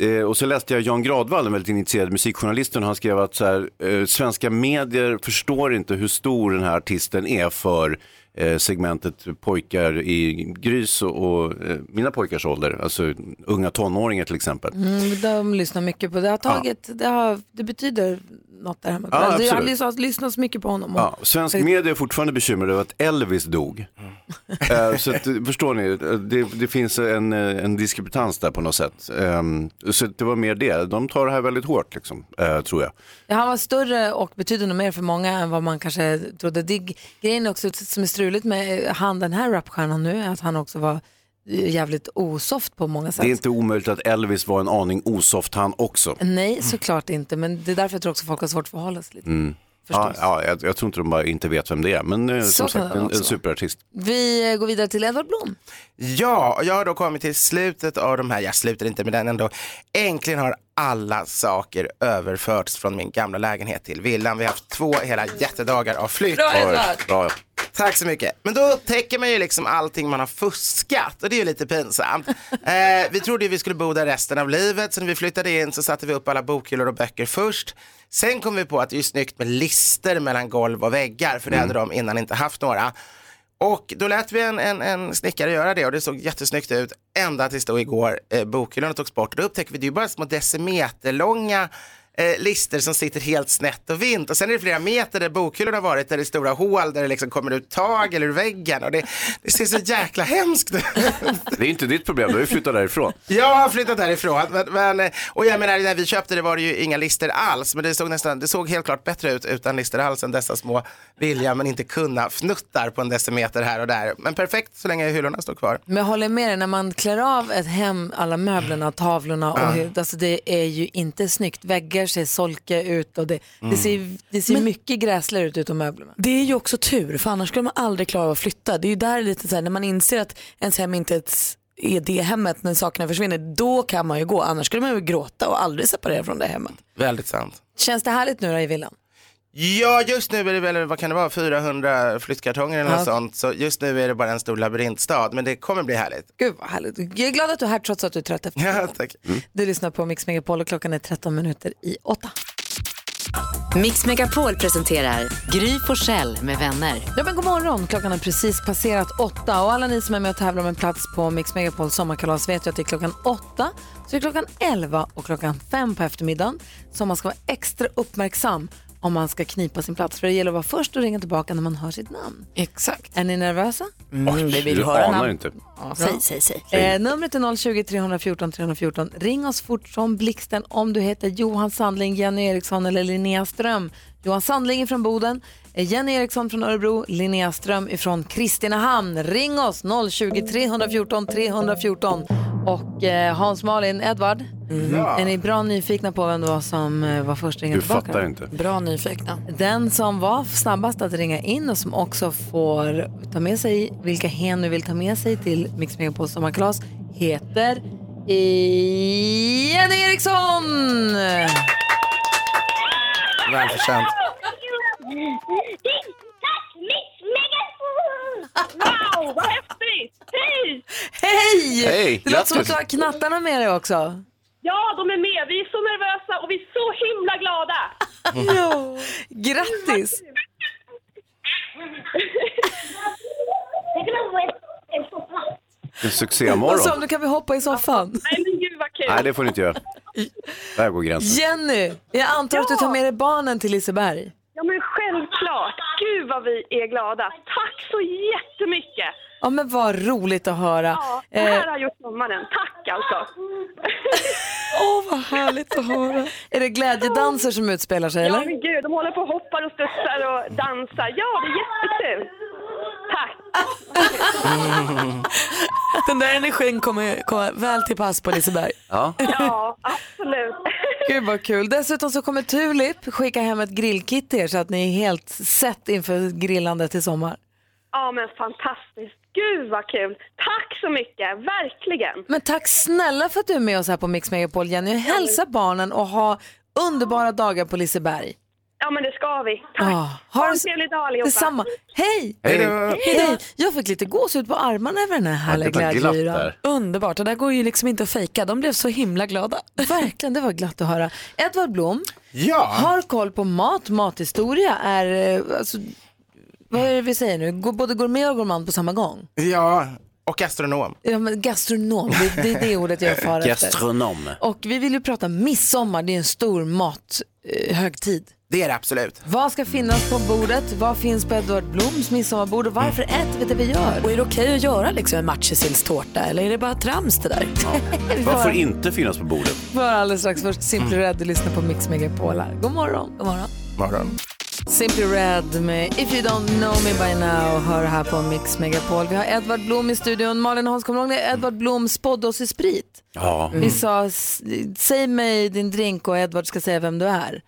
[SPEAKER 2] Eh, och så läste jag Jan Gradvall, en väldigt initierad musikjournalist, och han skrev att så här, eh, svenska medier förstår inte hur stor den här artisten är för eh, segmentet pojkar i Grys och, och eh, mina pojkars ålder, alltså unga tonåringar till exempel.
[SPEAKER 1] Mm, de lyssnar mycket på det. Har tagit, det, har, det betyder något där hemma.
[SPEAKER 2] Ja,
[SPEAKER 1] alltså, jag har
[SPEAKER 2] absolut.
[SPEAKER 1] lyssnat, lyssnat så mycket på honom.
[SPEAKER 2] Ja, svensk media är fortfarande bekymrade över att Elvis dog.
[SPEAKER 1] Mm.
[SPEAKER 2] Eh, så att, eh, förstår ni, eh, det, det finns en, eh, en diskrepans där på något sätt. Ehm, så att det var mer det, de tar det här väldigt hårt liksom, eh, tror jag.
[SPEAKER 1] Ja, han var större och betyder nog mer för många än vad man kanske trodde. Det, grejen också som är struligt med eh, han, den här rapstjärnan nu är att han också var eh, jävligt osoft på många sätt.
[SPEAKER 2] Det är inte omöjligt att Elvis var en aning osoft han också.
[SPEAKER 1] Nej, såklart inte. Men det är därför jag tror också folk har svårt att förhålla sig lite. Mm.
[SPEAKER 2] Ja, ja, jag, jag tror inte de bara inte vet vem det är, men eh,
[SPEAKER 1] Så
[SPEAKER 2] som
[SPEAKER 1] kan
[SPEAKER 2] sagt en,
[SPEAKER 1] det
[SPEAKER 2] en
[SPEAKER 1] också vara.
[SPEAKER 2] superartist.
[SPEAKER 1] Vi eh, går vidare till Edvard Blom.
[SPEAKER 16] Ja, jag har då kommit till slutet av de här, jag slutar inte med den ändå. Äntligen har alla saker överförts från min gamla lägenhet till villan. Vi har haft två hela jättedagar av flytt.
[SPEAKER 2] Bra, Edvard! Bra.
[SPEAKER 16] Tack så mycket. Men då upptäcker man ju liksom allting man har fuskat och det är ju lite pinsamt. Eh, vi trodde ju vi skulle bo där resten av livet så när vi flyttade in så satte vi upp alla bokhyllor och böcker först. Sen kom vi på att det är ju snyggt med lister mellan golv och väggar för det hade de innan inte haft några. Och då lät vi en, en, en snickare göra det och det såg jättesnyggt ut ända tills då igår eh, bokhyllorna togs bort. Och då upptäckte vi att det är ju bara små decimeterlånga eh, lister som sitter helt snett och vint. Och sen är det flera meter där bokhyllorna har varit, där det är stora hål där det liksom kommer ut tagel ur väggen. Och det, det ser så jäkla hemskt ut.
[SPEAKER 2] Det är inte ditt problem, du har ju flyttat därifrån.
[SPEAKER 16] Jag har flyttat härifrån. Men, men, eh, och jag menar, när vi köpte det var det ju inga lister alls. Men det såg, nästan, det såg helt klart bättre ut utan lister alls än dessa små vilja men inte kunna fnuttar på en decimeter här och där. Men perfekt så länge hyllorna står kvar.
[SPEAKER 1] Men jag håller med dig, när man klär av ett hem, alla möblerna, tavlorna, och,
[SPEAKER 2] Ah.
[SPEAKER 16] Ja.
[SPEAKER 1] hur- alltså, det är ju inte snyggt. Väggar ser solkiga ut och det, det
[SPEAKER 3] Mm.
[SPEAKER 1] ser, det ser mycket gräsligare ut utom möblerna.
[SPEAKER 3] Det är ju också tur, för annars skulle man aldrig klara av att flytta. Det är ju där lite så här, när man inser att ens hem inte ens är det hemmet när sakerna försvinner, då kan man ju gå. Annars skulle man ju gråta och aldrig separera från det hemmet.
[SPEAKER 16] Väldigt sant.
[SPEAKER 1] Känns det härligt nu då i villan?
[SPEAKER 16] Ja, just nu är det väl, vad kan det vara, 400 flyttkartonger eller något
[SPEAKER 1] Ja.
[SPEAKER 16] sånt. Så just nu är det bara en stor labyrintstad, men det kommer bli härligt.
[SPEAKER 1] Gud vad härligt. Jag är glad att du är här trots att du är trött efter
[SPEAKER 16] Ja, tack. Mm.
[SPEAKER 1] Du lyssnar på Mix Megapol och klockan är 13 minuter i 8.
[SPEAKER 10] Mix Megapol presenterar Gry Forssell med vänner.
[SPEAKER 1] Ja, men god morgon. Klockan har precis passerat åtta och alla ni som är med och tävlar om en plats på Mix Megapols sommarkalas vet ju att det är klockan åtta, så det är klockan elva och klockan fem på eftermiddagen som man ska vara extra uppmärksam om man ska knipa sin plats. För det gäller att vara först och ringa tillbaka när man hör sitt namn.
[SPEAKER 3] Exakt.
[SPEAKER 1] Är ni nervösa?
[SPEAKER 2] Oj,
[SPEAKER 1] Mm, vill
[SPEAKER 2] du
[SPEAKER 1] höra
[SPEAKER 2] anar
[SPEAKER 1] namn.
[SPEAKER 2] inte.
[SPEAKER 1] Ja.
[SPEAKER 3] säg, säg, säg.
[SPEAKER 1] Eh, numret är 020-314 314. Ring oss fort som blixten om du heter Johan Sandling, Jenny Eriksson eller Linnea Ström. Johan Sandling är från Boden, eh, Jenny Eriksson från Örebro, Linnea Ström är från Kristinehamn. Ring oss 020-314 314. Och eh, Hans Malin, Edvard,
[SPEAKER 2] Ja.
[SPEAKER 1] är ni bra nyfikna på vem det var som eh, var först att ringa
[SPEAKER 2] Du
[SPEAKER 1] tillbaka?
[SPEAKER 2] fattar inte.
[SPEAKER 3] Bra nyfikna.
[SPEAKER 1] Den som var snabbast att ringa in och som också får ta med sig vilka hen du vill ta med sig till Mix Megapol sommarkalas heter Jenny Eriksson!
[SPEAKER 16] Välförtjänt.
[SPEAKER 6] Tack Mix Megapol! Wow, vad häftigt! Hej!
[SPEAKER 1] Hej!
[SPEAKER 6] Hej,
[SPEAKER 1] Det låter som att
[SPEAKER 6] grattis.
[SPEAKER 1] du har knattarna med dig också.
[SPEAKER 6] Ja, de är med. Vi är så nervösa och vi är så himla glada.
[SPEAKER 1] Jo. Grattis!
[SPEAKER 2] En succémorgon.
[SPEAKER 1] Och som du kan vi hoppa i soffan.
[SPEAKER 6] Nej men gud vad kul.
[SPEAKER 2] Nej, det får ni inte göra. Där går gränsen.
[SPEAKER 1] Jenny, jag antar att du tar med dig barnen till Liseberg.
[SPEAKER 11] Ja, men självklart. Gud vad vi är glada. Tack så jättemycket.
[SPEAKER 1] Ja men vad roligt att höra.
[SPEAKER 11] Ja, det
[SPEAKER 1] Eh,
[SPEAKER 11] här har gjort sommaren. Tack alltså.
[SPEAKER 1] Åh vad härligt att höra. Är det glädjedanser som utspelar sig
[SPEAKER 11] Ja,
[SPEAKER 1] eller?
[SPEAKER 11] men gud, de håller på och hoppar och studsar och dansar. Ja, det är jättekul. Tack.
[SPEAKER 3] Den där energin kommer komma väl till pass på Liseberg.
[SPEAKER 2] Ja.
[SPEAKER 11] Ja, absolut.
[SPEAKER 1] Gud vad kul. Dessutom så kommer Tulip skicka hem ett grillkit till er så att ni är helt sett inför grillande till sommar.
[SPEAKER 11] Ja, men fantastiskt. Gud vad kul. Tack så mycket, verkligen.
[SPEAKER 1] Men tack snälla för att du är med oss här på Mix Megapol Jenny. Hälsa barnen och ha underbara dagar på Liseberg.
[SPEAKER 11] Ja, men det ska vi. Tack.
[SPEAKER 1] Ah,
[SPEAKER 11] ha en trevlig dag allihopa.
[SPEAKER 1] Detsamma. Hej!
[SPEAKER 2] Hej då.
[SPEAKER 1] Hej! Jag fick lite gåshud på armarna över den här härliga
[SPEAKER 2] det var glatt
[SPEAKER 1] glädjeyran.
[SPEAKER 2] där.
[SPEAKER 3] Underbart, det där går ju liksom inte att fejka. De blev så himla glada.
[SPEAKER 1] Verkligen, det var glatt att höra. Edvard Blom
[SPEAKER 16] Ja.
[SPEAKER 1] har koll på mat, mathistoria är, eh, alltså, vad är det vi säger nu, Gå- både gourmet och gourmand på samma gång.
[SPEAKER 16] Ja, och gastronom.
[SPEAKER 1] Ja, men gastronom, det, det är det ordet jag far efter.
[SPEAKER 2] Gastronom.
[SPEAKER 1] Och vi vill ju prata midsommar, det är en stor mathögtid.
[SPEAKER 16] Det är det absolut.
[SPEAKER 1] Vad ska finnas på bordet? Vad finns på Edvard Bloms midsommarbord och varför äter vi det vi gör?
[SPEAKER 3] Och är det okej att göra liksom en matjessillstårta eller är det bara trams det där?
[SPEAKER 1] Vi får
[SPEAKER 2] Vad får
[SPEAKER 1] höra.
[SPEAKER 2] inte finnas på bordet?
[SPEAKER 1] Vi får höra alldeles strax först Simply Red och lyssna på Mix Megapol här. God morgon. God morgon.
[SPEAKER 16] Morgon.
[SPEAKER 1] Simply Red med If You Don't Know Me By Now hör här på Mix Megapol. Vi har Edvard Blom i studion. Malin och Hans, kommer du ihåg när Edvard Blom spådde oss i sprit?
[SPEAKER 2] Ja.
[SPEAKER 1] Vi sa, "S- säg mig din drink och Edvard ska säga vem du är.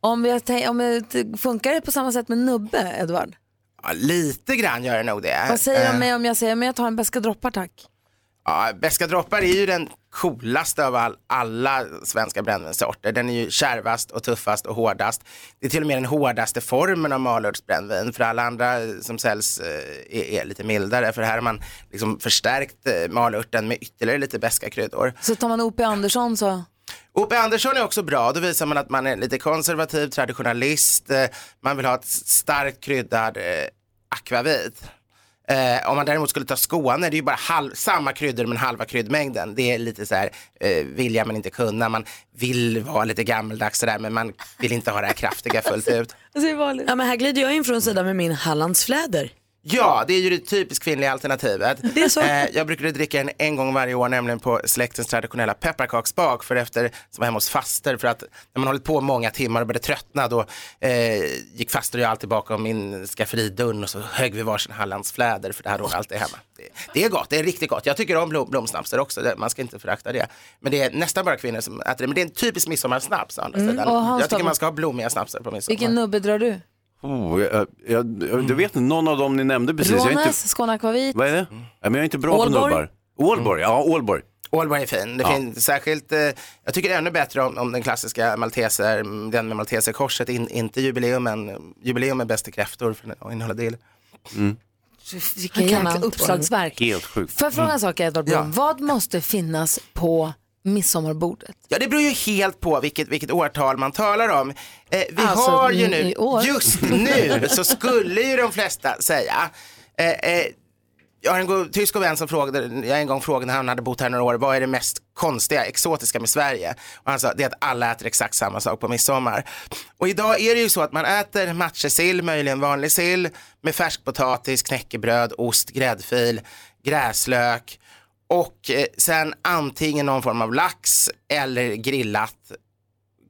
[SPEAKER 1] Om vi har tänkt- om jag t- funkar det på samma sätt med nubbe, Edvard?
[SPEAKER 16] Ja, lite grann gör det nog det.
[SPEAKER 1] Vad säger du
[SPEAKER 16] Eh,
[SPEAKER 1] om mig om jag säger, men jag tar en beska droppar tack?
[SPEAKER 16] Ja, Beska droppar är ju den coolaste av all, alla svenska brännvinssorter. Den är ju kärvast och tuffast och hårdast. Det är till och med den hårdaste formen av malörtsbrännvin. För alla andra eh, som säljs eh, är, är lite mildare. För här har man liksom förstärkt eh, malörten med ytterligare lite beska kryddor.
[SPEAKER 1] Så tar man O.P. Andersson så,
[SPEAKER 16] O.P. Andersson är också bra. Då visar man att man är lite konservativ, traditionalist. eh, Man vill ha ett starkt kryddad eh, akvavit. Eh, om man däremot skulle ta Skåne, det är ju bara halv, samma kryddor men halva kryddmängden. Det är lite så här, eh, vilja men inte kunna. Man vill vara lite gammeldags sådär men man vill inte ha det här kraftiga fullt ut.
[SPEAKER 1] Alltså,
[SPEAKER 3] Ja, men här glider jag in från sidan med min Hallandsfläder.
[SPEAKER 16] Ja, det är ju det typiskt kvinnliga alternativet.
[SPEAKER 3] Det är så.
[SPEAKER 16] Eh, jag brukade dricka en en gång varje år, nämligen på släktens traditionella pepparkaksbak, för efter, som var hemma hos faster, för att när man hållit på många timmar och började tröttna, då eh, gick faster och jag alltid bakom min skafferidörr och så högg vi varsin Hallandsfläder, för det här låg alltid hemma. Det, det är gott, det är riktigt gott. Jag tycker om blom, blomsnapsar också, det, man ska inte förakta det. Men det är nästan bara kvinnor som äter det, men det är en typisk midsommarsnaps å andra
[SPEAKER 1] Mm, och
[SPEAKER 16] sidan.
[SPEAKER 1] Hans
[SPEAKER 16] Jag tycker
[SPEAKER 1] då?
[SPEAKER 16] man ska ha blommiga snapsar på midsommar.
[SPEAKER 1] vilken nubbe drar du?
[SPEAKER 2] Oh, jag, jag, jag, du vet inte, någon av dem ni nämnde precis. Jag är inte,
[SPEAKER 1] Rånäs, Skåne Akvavit.
[SPEAKER 2] vad är det? Ja, men jag är inte bra
[SPEAKER 1] Ålborg?
[SPEAKER 2] på nubbar. Ålborg, ja Ålborg.
[SPEAKER 16] Ålborg är fin. Det
[SPEAKER 2] Ja.
[SPEAKER 16] finns särskilt, eh, jag tycker det är ännu bättre om, om den klassiska malteser, mm, den med malteserkorset, in, inte jubileumen. Jubileum är bäst i kräftor för att innehålla dill.
[SPEAKER 1] Vilka
[SPEAKER 3] Jag kan
[SPEAKER 1] jäkla
[SPEAKER 3] allt.
[SPEAKER 2] Helt
[SPEAKER 1] uppslagsverk.
[SPEAKER 2] Mm. sjukt.
[SPEAKER 1] Får jag fråga en sak Edvard Blom?
[SPEAKER 16] Mm. Ja.
[SPEAKER 1] Vad måste finnas på midsommarbordet?
[SPEAKER 16] Ja, det beror ju helt på vilket, vilket årtal man talar om. Eh, vi
[SPEAKER 1] Alltså,
[SPEAKER 16] har ju
[SPEAKER 1] n-
[SPEAKER 16] nu,
[SPEAKER 1] i år.
[SPEAKER 16] just nu så skulle ju de flesta säga, eh, eh, jag har en god, tysk och vän som frågade, jag en gång frågade när han hade bott här några år, vad är det mest konstiga, exotiska med Sverige? Och han sa, det är att alla äter exakt samma sak på midsommar. Och idag är det ju så att man äter matjessill, möjligen vanlig sill, med färskpotatis, knäckebröd, ost, gräddfil, gräslök och eh, sen antingen någon form av lax eller grillat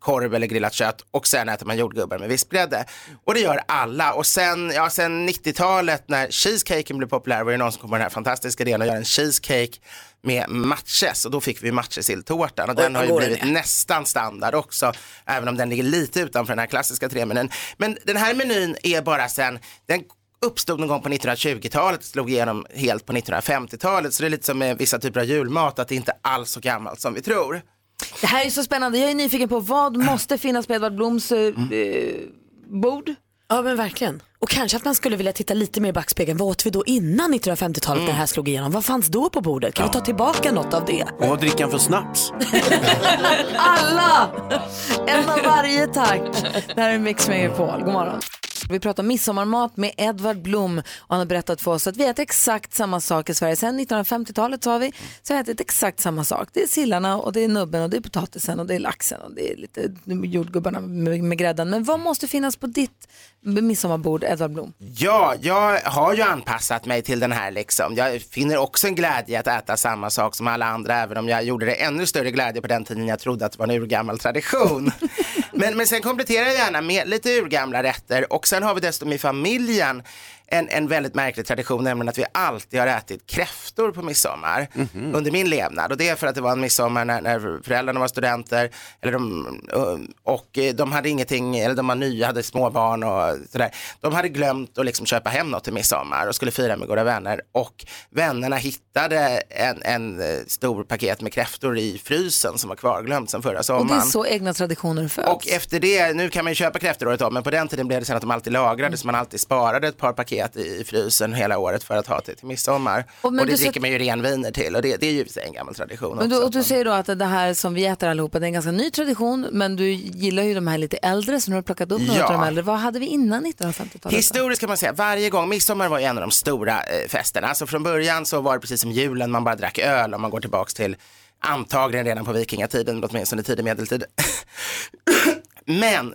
[SPEAKER 16] korv eller grillat kött och sen äter man jordgubbar med vispgrädde. Och det gör alla. Och sen, ja, sen 90-talet när cheesecaken blev populär var det någon som kom på den här fantastiska idén att göra en cheesecake med matches och då fick vi matchesilltårtan och den
[SPEAKER 3] vad
[SPEAKER 16] har ju
[SPEAKER 3] god den
[SPEAKER 16] blivit
[SPEAKER 3] är.
[SPEAKER 16] nästan standard också även om den ligger lite utanför den här klassiska tremenyn. Men den här menyn är bara sen, den uppstod någon gång på 1920-talet, slog igenom helt på 1950-talet så det är lite som med vissa typer av julmat att det inte alls så gammalt som vi tror.
[SPEAKER 1] Det här är så spännande. Jag är nyfiken på vad måste finnas på Edvard Bloms eh,
[SPEAKER 2] Mm.
[SPEAKER 1] eh, bord?
[SPEAKER 3] Ja men verkligen. Och kanske att man skulle vilja titta lite mer i backspegeln. Vad åt vi då innan 1950-talet när det här slog igenom? Vad fanns då på bordet? Kan vi ta tillbaka något av det?
[SPEAKER 2] Och vad dricker han för snaps?
[SPEAKER 1] Alla! En av varje tack. Det här är Mix Megapol. God morgon. Vi pratar om midsommarmat med Edvard Blom och han har berättat för oss att vi äter exakt samma sak i Sverige. Sedan 1950-talet sa vi, så har vi ätit exakt samma sak. Det är sillarna och det är nubben och det är potatisen och det är laxen och det är lite jordgubbarna med, med grädden. Men vad måste finnas på ditt midsommarbord, Edvard Blom?
[SPEAKER 16] Ja, jag har ju anpassat mig till den här liksom. Jag finner också en glädje i att äta samma sak som alla andra, även om jag gjorde det ännu större glädje på den tiden jag trodde att det var en urgammal tradition. men, men sen kompletterar jag gärna med lite urgamla rätter och sen har vi dessutom i familjen en, en väldigt märklig tradition, nämligen att vi alltid har ätit kräftor på midsommar under min levnad. Och det är för att det var en midsommar när, när föräldrarna var studenter eller de, och eh, de hade ingenting, eller de var nya, hade småbarn och sådär. De hade glömt att liksom köpa hem något till midsommar och skulle fira med goda vänner. Och vännerna hittade en, en eh, stor paket med kräftor i frysen som var kvarglömt sedan förra
[SPEAKER 1] Och
[SPEAKER 16] sommaren.
[SPEAKER 1] det är så egna traditioner föds.
[SPEAKER 16] Och efter det, nu kan man ju köpa kräftor året om, men på den tiden blev det sen att de alltid lagrades, man alltid sparade ett par paket i i frysen hela året för att ha till, till midsommar.
[SPEAKER 1] Och
[SPEAKER 16] Och,
[SPEAKER 1] men
[SPEAKER 16] det
[SPEAKER 1] du sa-
[SPEAKER 16] dricker man ju renviner till och det, det är ju i sig en gammal tradition
[SPEAKER 1] Men du,
[SPEAKER 16] också.
[SPEAKER 1] och du säger då att det här som vi äter allihopa, det är en ganska ny tradition, men du gillar ju de här lite äldre, så nu har du plockat upp några
[SPEAKER 16] Ja.
[SPEAKER 1] av de äldre. Vad hade vi innan 1950-talet?
[SPEAKER 16] Historiskt kan man säga, varje gång, midsommar var ju en av de stora eh, festerna. Alltså från början så var det precis som julen, man bara drack öl om man går tillbaks till antagligen redan på vikingatiden, men åtminstone tidig medeltid. men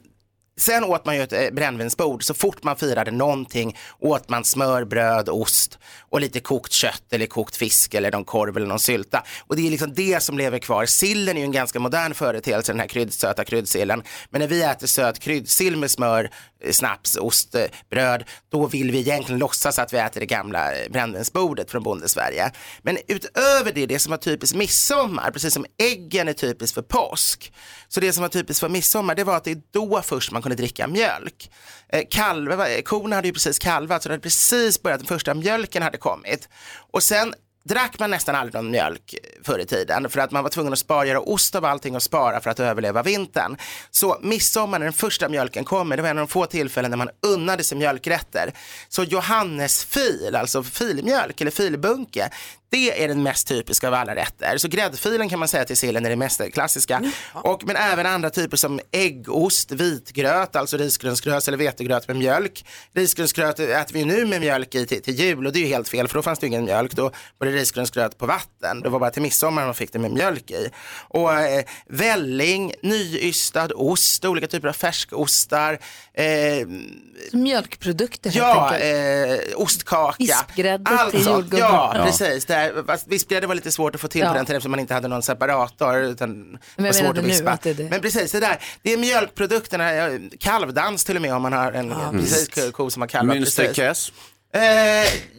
[SPEAKER 16] sen åt man ju ett eh, brännvinsbord, så fort man firade någonting åt man smör, bröd, ost och lite kokt kött eller kokt fisk eller någon korv eller någon sylta. Och det är liksom det som lever kvar. Sillen är ju en ganska modern företeelse, den här kryddsöta kryddsillen. Men när vi äter söt kryddsill med smör, eh, snaps, ost, eh, bröd, då vill vi egentligen låtsas att vi äter det gamla eh, brännvinsbordet från Bondesverige. Men utöver det, det som var typiskt midsommar, precis som liksom äggen är typiskt för påsk, så det som var typiskt för midsommar, det var att det är då först man kunde dricka mjölk. Eh, Kalva, eh, korna hade ju precis kalvat, så det hade precis börjat, den första mjölken hade kommit. Och sen drack man nästan aldrig någon mjölk eh, förr i tiden för att man var tvungen att spara, göra ost av allting och spara för att överleva vintern. Så midsommar när den första mjölken kommer, det var en av de få tillfällen när man unnade sig mjölkrätter. Så Johannesfil, alltså filmjölk eller filbunke, det är den mest typiska av alla rätter. Så gräddfilen kan man säga till sillen är det mest
[SPEAKER 1] Mm,
[SPEAKER 16] klassiska. Och, men även andra typer som äggost, vitgröt, alltså risgrynsgröt eller vetegröt med mjölk. Risgrynsgröt äter vi ju nu med mjölk i till, till jul och det är ju helt fel för då fanns det ju ingen mjölk. Då var det risgrynsgröt på vatten. Det var bara till midsommar man fick det med mjölk i. Och eh, välling, nyyystad ost, olika typer av färskostar. Eh,
[SPEAKER 1] Mjölkprodukter helt
[SPEAKER 16] Ja,
[SPEAKER 1] enkelt.
[SPEAKER 16] eh, ostkaka.
[SPEAKER 1] Vispgrädde till
[SPEAKER 16] Allt sånt.
[SPEAKER 1] jordgubbar.
[SPEAKER 16] Alltså, Ja,
[SPEAKER 1] Ja.
[SPEAKER 16] precis. Det här, fast vispgrädde var lite svårt att få till
[SPEAKER 1] Ja.
[SPEAKER 16] på den tiden eftersom man inte hade någon separator. Utan det
[SPEAKER 1] jag
[SPEAKER 16] var svårt
[SPEAKER 1] menade
[SPEAKER 16] att
[SPEAKER 1] nu
[SPEAKER 16] vispa.
[SPEAKER 1] att det är det.
[SPEAKER 16] Men precis, det där. Det är mjölkprodukterna, ja, kalvdans till och med om man har en precis, ko som har kalvat.
[SPEAKER 2] Münsterkäs.
[SPEAKER 16] Eh,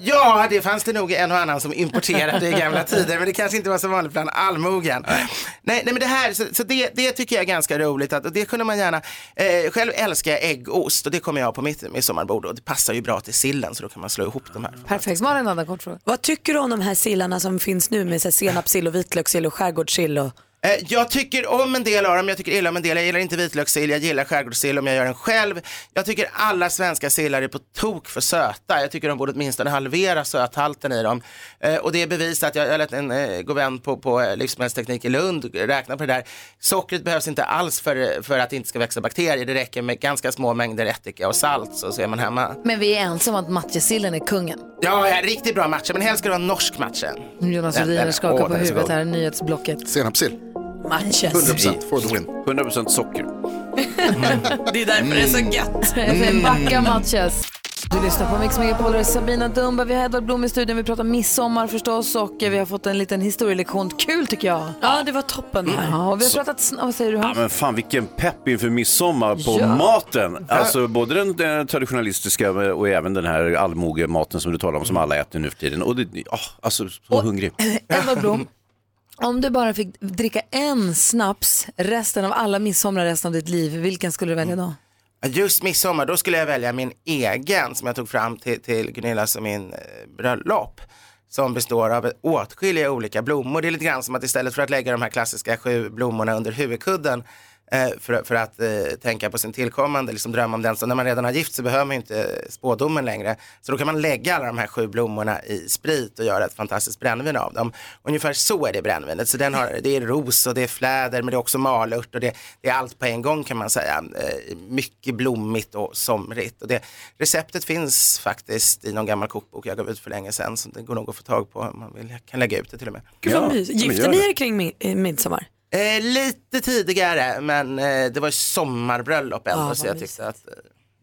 [SPEAKER 16] ja, det fanns det nog en och annan som importerade i gamla tider, men det kanske inte var så vanligt bland allmogen. Nej, nej men det här, så, så det, det tycker jag är ganska roligt, att, och det kunde man gärna, eh, själv älskar jag äggost och det kommer jag ha på mitt midsommarbord och det passar ju bra till sillen så då kan man slå ihop de här.
[SPEAKER 1] Perfekt, Malin hade en kort fråga.
[SPEAKER 3] Vad tycker du om de här sillarna som finns nu med så här senapssill och vitlökssill och skärgårdssill? Och...
[SPEAKER 16] Eh, Jag tycker om en del av dem, jag tycker illa om en del. Jag gillar inte vitlökssill, jag gillar skärgårdssill om jag gör den själv. Jag tycker alla svenska sillar är på tok för söta. Jag tycker de borde åtminstone halvera söthalten i dem. Eh, Och det är bevisat, jag jag lät en eh, god vän på, på eh, livsmedelsteknik i Lund räkna på det där. Sockret behövs inte alls för, för att det inte ska växa bakterier. Det räcker med ganska små mängder ättika och salt så, så är man hemma.
[SPEAKER 1] Men vi är ensamma om att matjessillen är kungen.
[SPEAKER 16] Ja, ja, riktigt bra matcha, men helst ska det vara en norsk matcha.
[SPEAKER 1] Jonas
[SPEAKER 16] Den-
[SPEAKER 1] Rhodiner
[SPEAKER 16] den-
[SPEAKER 1] skakar
[SPEAKER 16] åh,
[SPEAKER 1] på
[SPEAKER 16] den är så
[SPEAKER 1] huvudet
[SPEAKER 16] god.
[SPEAKER 1] här, nyhetsblocket.
[SPEAKER 13] Senapssill.
[SPEAKER 3] Matches.
[SPEAKER 13] 100% for the win.
[SPEAKER 2] 100% socker.
[SPEAKER 3] Det är därför det är så gött.
[SPEAKER 1] Jag säger backa
[SPEAKER 16] Mm.
[SPEAKER 1] matches. Du lyssnar på Mix Megapol, det är Sabina Dumba, vi har Edvard Blom i studion, vi pratar midsommar förstås och eh, vi har fått en liten historielektion. Kul tycker jag.
[SPEAKER 3] Ja, det var toppen
[SPEAKER 1] här. Ja, och vi har pratat, sn- vad säger du
[SPEAKER 2] Ja,
[SPEAKER 1] Hans?
[SPEAKER 2] men fan vilken pepp inför midsommar på
[SPEAKER 1] Ja.
[SPEAKER 2] maten. Alltså både den, den traditionalistiska och även den här allmogematen som du talar om som alla äter nu för tiden. Och det, ah, alltså så hungrig.
[SPEAKER 1] Edvard Blom, om du bara fick dricka en snaps resten av alla midsommar resten av ditt liv, vilken skulle du välja då?
[SPEAKER 16] Just midsommar, då skulle jag välja min egen som jag tog fram till, till Gunillas och min eh, bröllop. Som består av åtskilliga olika blommor. Det är lite grann som att istället för att lägga de här klassiska sju blommorna under huvudkudden eh, för, för att eh, tänka på sin tillkommande, liksom drömma om den. Så när man redan har gift så behöver man ju inte spådomen längre. Så då kan man lägga alla de här sju blommorna i sprit och göra ett fantastiskt brännvin av dem. Ungefär så är det brännvinet. Så den har, det är ros och det är fläder men det är också malört och det, det är allt på en gång kan man säga. Eh, mycket blommigt och somrigt. Och det, receptet finns faktiskt i någon gammal kokbok jag gav ut för länge sedan så det går nog att få tag på om man vill. Jag kan lägga ut det till och med.
[SPEAKER 3] Gud vad mysigt. Gifte ni er kring mi- eh, midsommar?
[SPEAKER 16] Eh, lite tidigare, men eh, det var ju sommarbröllop ändå,
[SPEAKER 1] Ja, vad
[SPEAKER 16] så jag tyckte att eh,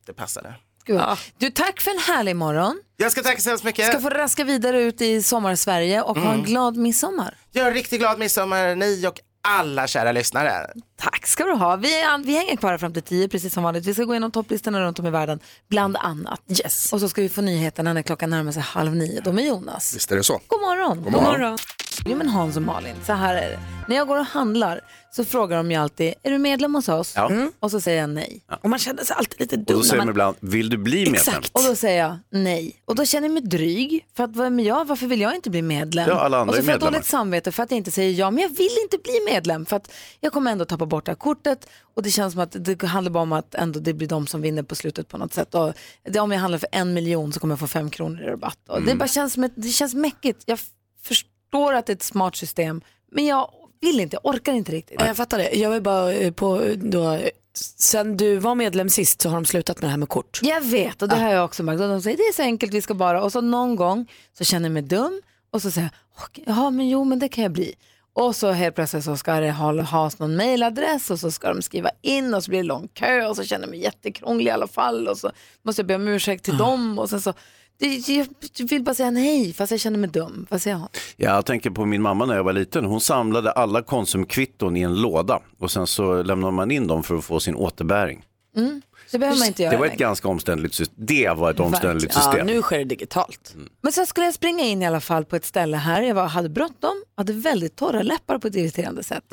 [SPEAKER 16] det passade.
[SPEAKER 1] Gud. Du, tack för en härlig morgon.
[SPEAKER 16] Jag ska tacka så hemskt mycket.
[SPEAKER 1] Ska få raska vidare ut i sommarsverige och ha en
[SPEAKER 16] Mm.
[SPEAKER 1] glad midsommar.
[SPEAKER 16] Jag är riktigt glad midsommar, ni och alla kära lyssnare.
[SPEAKER 1] Tack ska du ha. Vi, är, vi hänger kvar fram till tio precis som vanligt. Vi ska gå igenom topplistorna runt om i världen, bland annat. Yes. Och så ska vi få nyheterna när klockan närmar sig halv nio. De är Jonas.
[SPEAKER 13] Visst är det så.
[SPEAKER 1] God morgon.
[SPEAKER 13] God morgon.
[SPEAKER 1] Jo men Hans och Malin, så här är det. När jag går och handlar så frågar de ju alltid, är du medlem hos oss?
[SPEAKER 2] Ja.
[SPEAKER 1] Och så säger jag nej. Mm. Och man känner sig alltid lite
[SPEAKER 2] Och då säger
[SPEAKER 1] när
[SPEAKER 2] de
[SPEAKER 1] man-
[SPEAKER 2] ibland, vill du bli medlem?
[SPEAKER 1] Och då säger jag nej. Och då känner jag mig dryg. För att vem är jag? Varför vill jag inte bli medlem?
[SPEAKER 2] Ja, alla andra
[SPEAKER 1] och så
[SPEAKER 2] är
[SPEAKER 1] får jag
[SPEAKER 2] medlemmar.
[SPEAKER 1] dåligt samvete för att jag inte säger ja. Men jag vill inte bli medlem. För att jag kommer ändå tappa bort det här kortet. Och det känns som att det handlar bara om att ändå det blir de som vinner på slutet på något sätt. Och det, om jag handlar för en miljon så kommer jag få fem kronor i rabatt. Och det,
[SPEAKER 7] Mm.
[SPEAKER 1] bara känns som ett, det känns mäckigt. Jag f- förstår att det är ett smart system. Men jag vill inte, jag orkar inte riktigt.
[SPEAKER 3] Ja, jag fattar det. Jag vill bara eh, på eh, då, eh, sen du var medlem sist så har de slutat med det här med kort.
[SPEAKER 1] Jag vet och
[SPEAKER 2] Ah.
[SPEAKER 1] det har jag också märkt. Och de säger det är så enkelt, vi ska bara. Och så någon gång så känner jag mig dum och så säger jag, "Okej, ja men jo men det kan jag bli. Och så helt plötsligt så ska det ha, ha någon mailadress och så ska de skriva in och så blir det lång kö och så känner jag mig jättekrånglig i alla fall och så måste jag be om ursäkt
[SPEAKER 2] Ah.
[SPEAKER 1] till dem och sen så, det, jag vill bara säga nej fast jag känner mig dum. Vad säger jag?
[SPEAKER 2] Jag tänker på min mamma när jag var liten. Hon samlade alla Konsumkvitton i en låda och sen så lämnade man in dem för att få sin återbäring.
[SPEAKER 1] Mm. Så behöver man inte göra
[SPEAKER 2] Det var ett
[SPEAKER 1] längre.
[SPEAKER 2] ganska omständligt system. Det var ett omständligt
[SPEAKER 1] Verkligen.
[SPEAKER 2] system.
[SPEAKER 1] Ja, nu
[SPEAKER 3] sker det digitalt.
[SPEAKER 1] Men sen skulle jag springa in i alla fall på ett ställe här. Jag var, hade bråttom, hade väldigt torra läppar på ett irriterande sätt.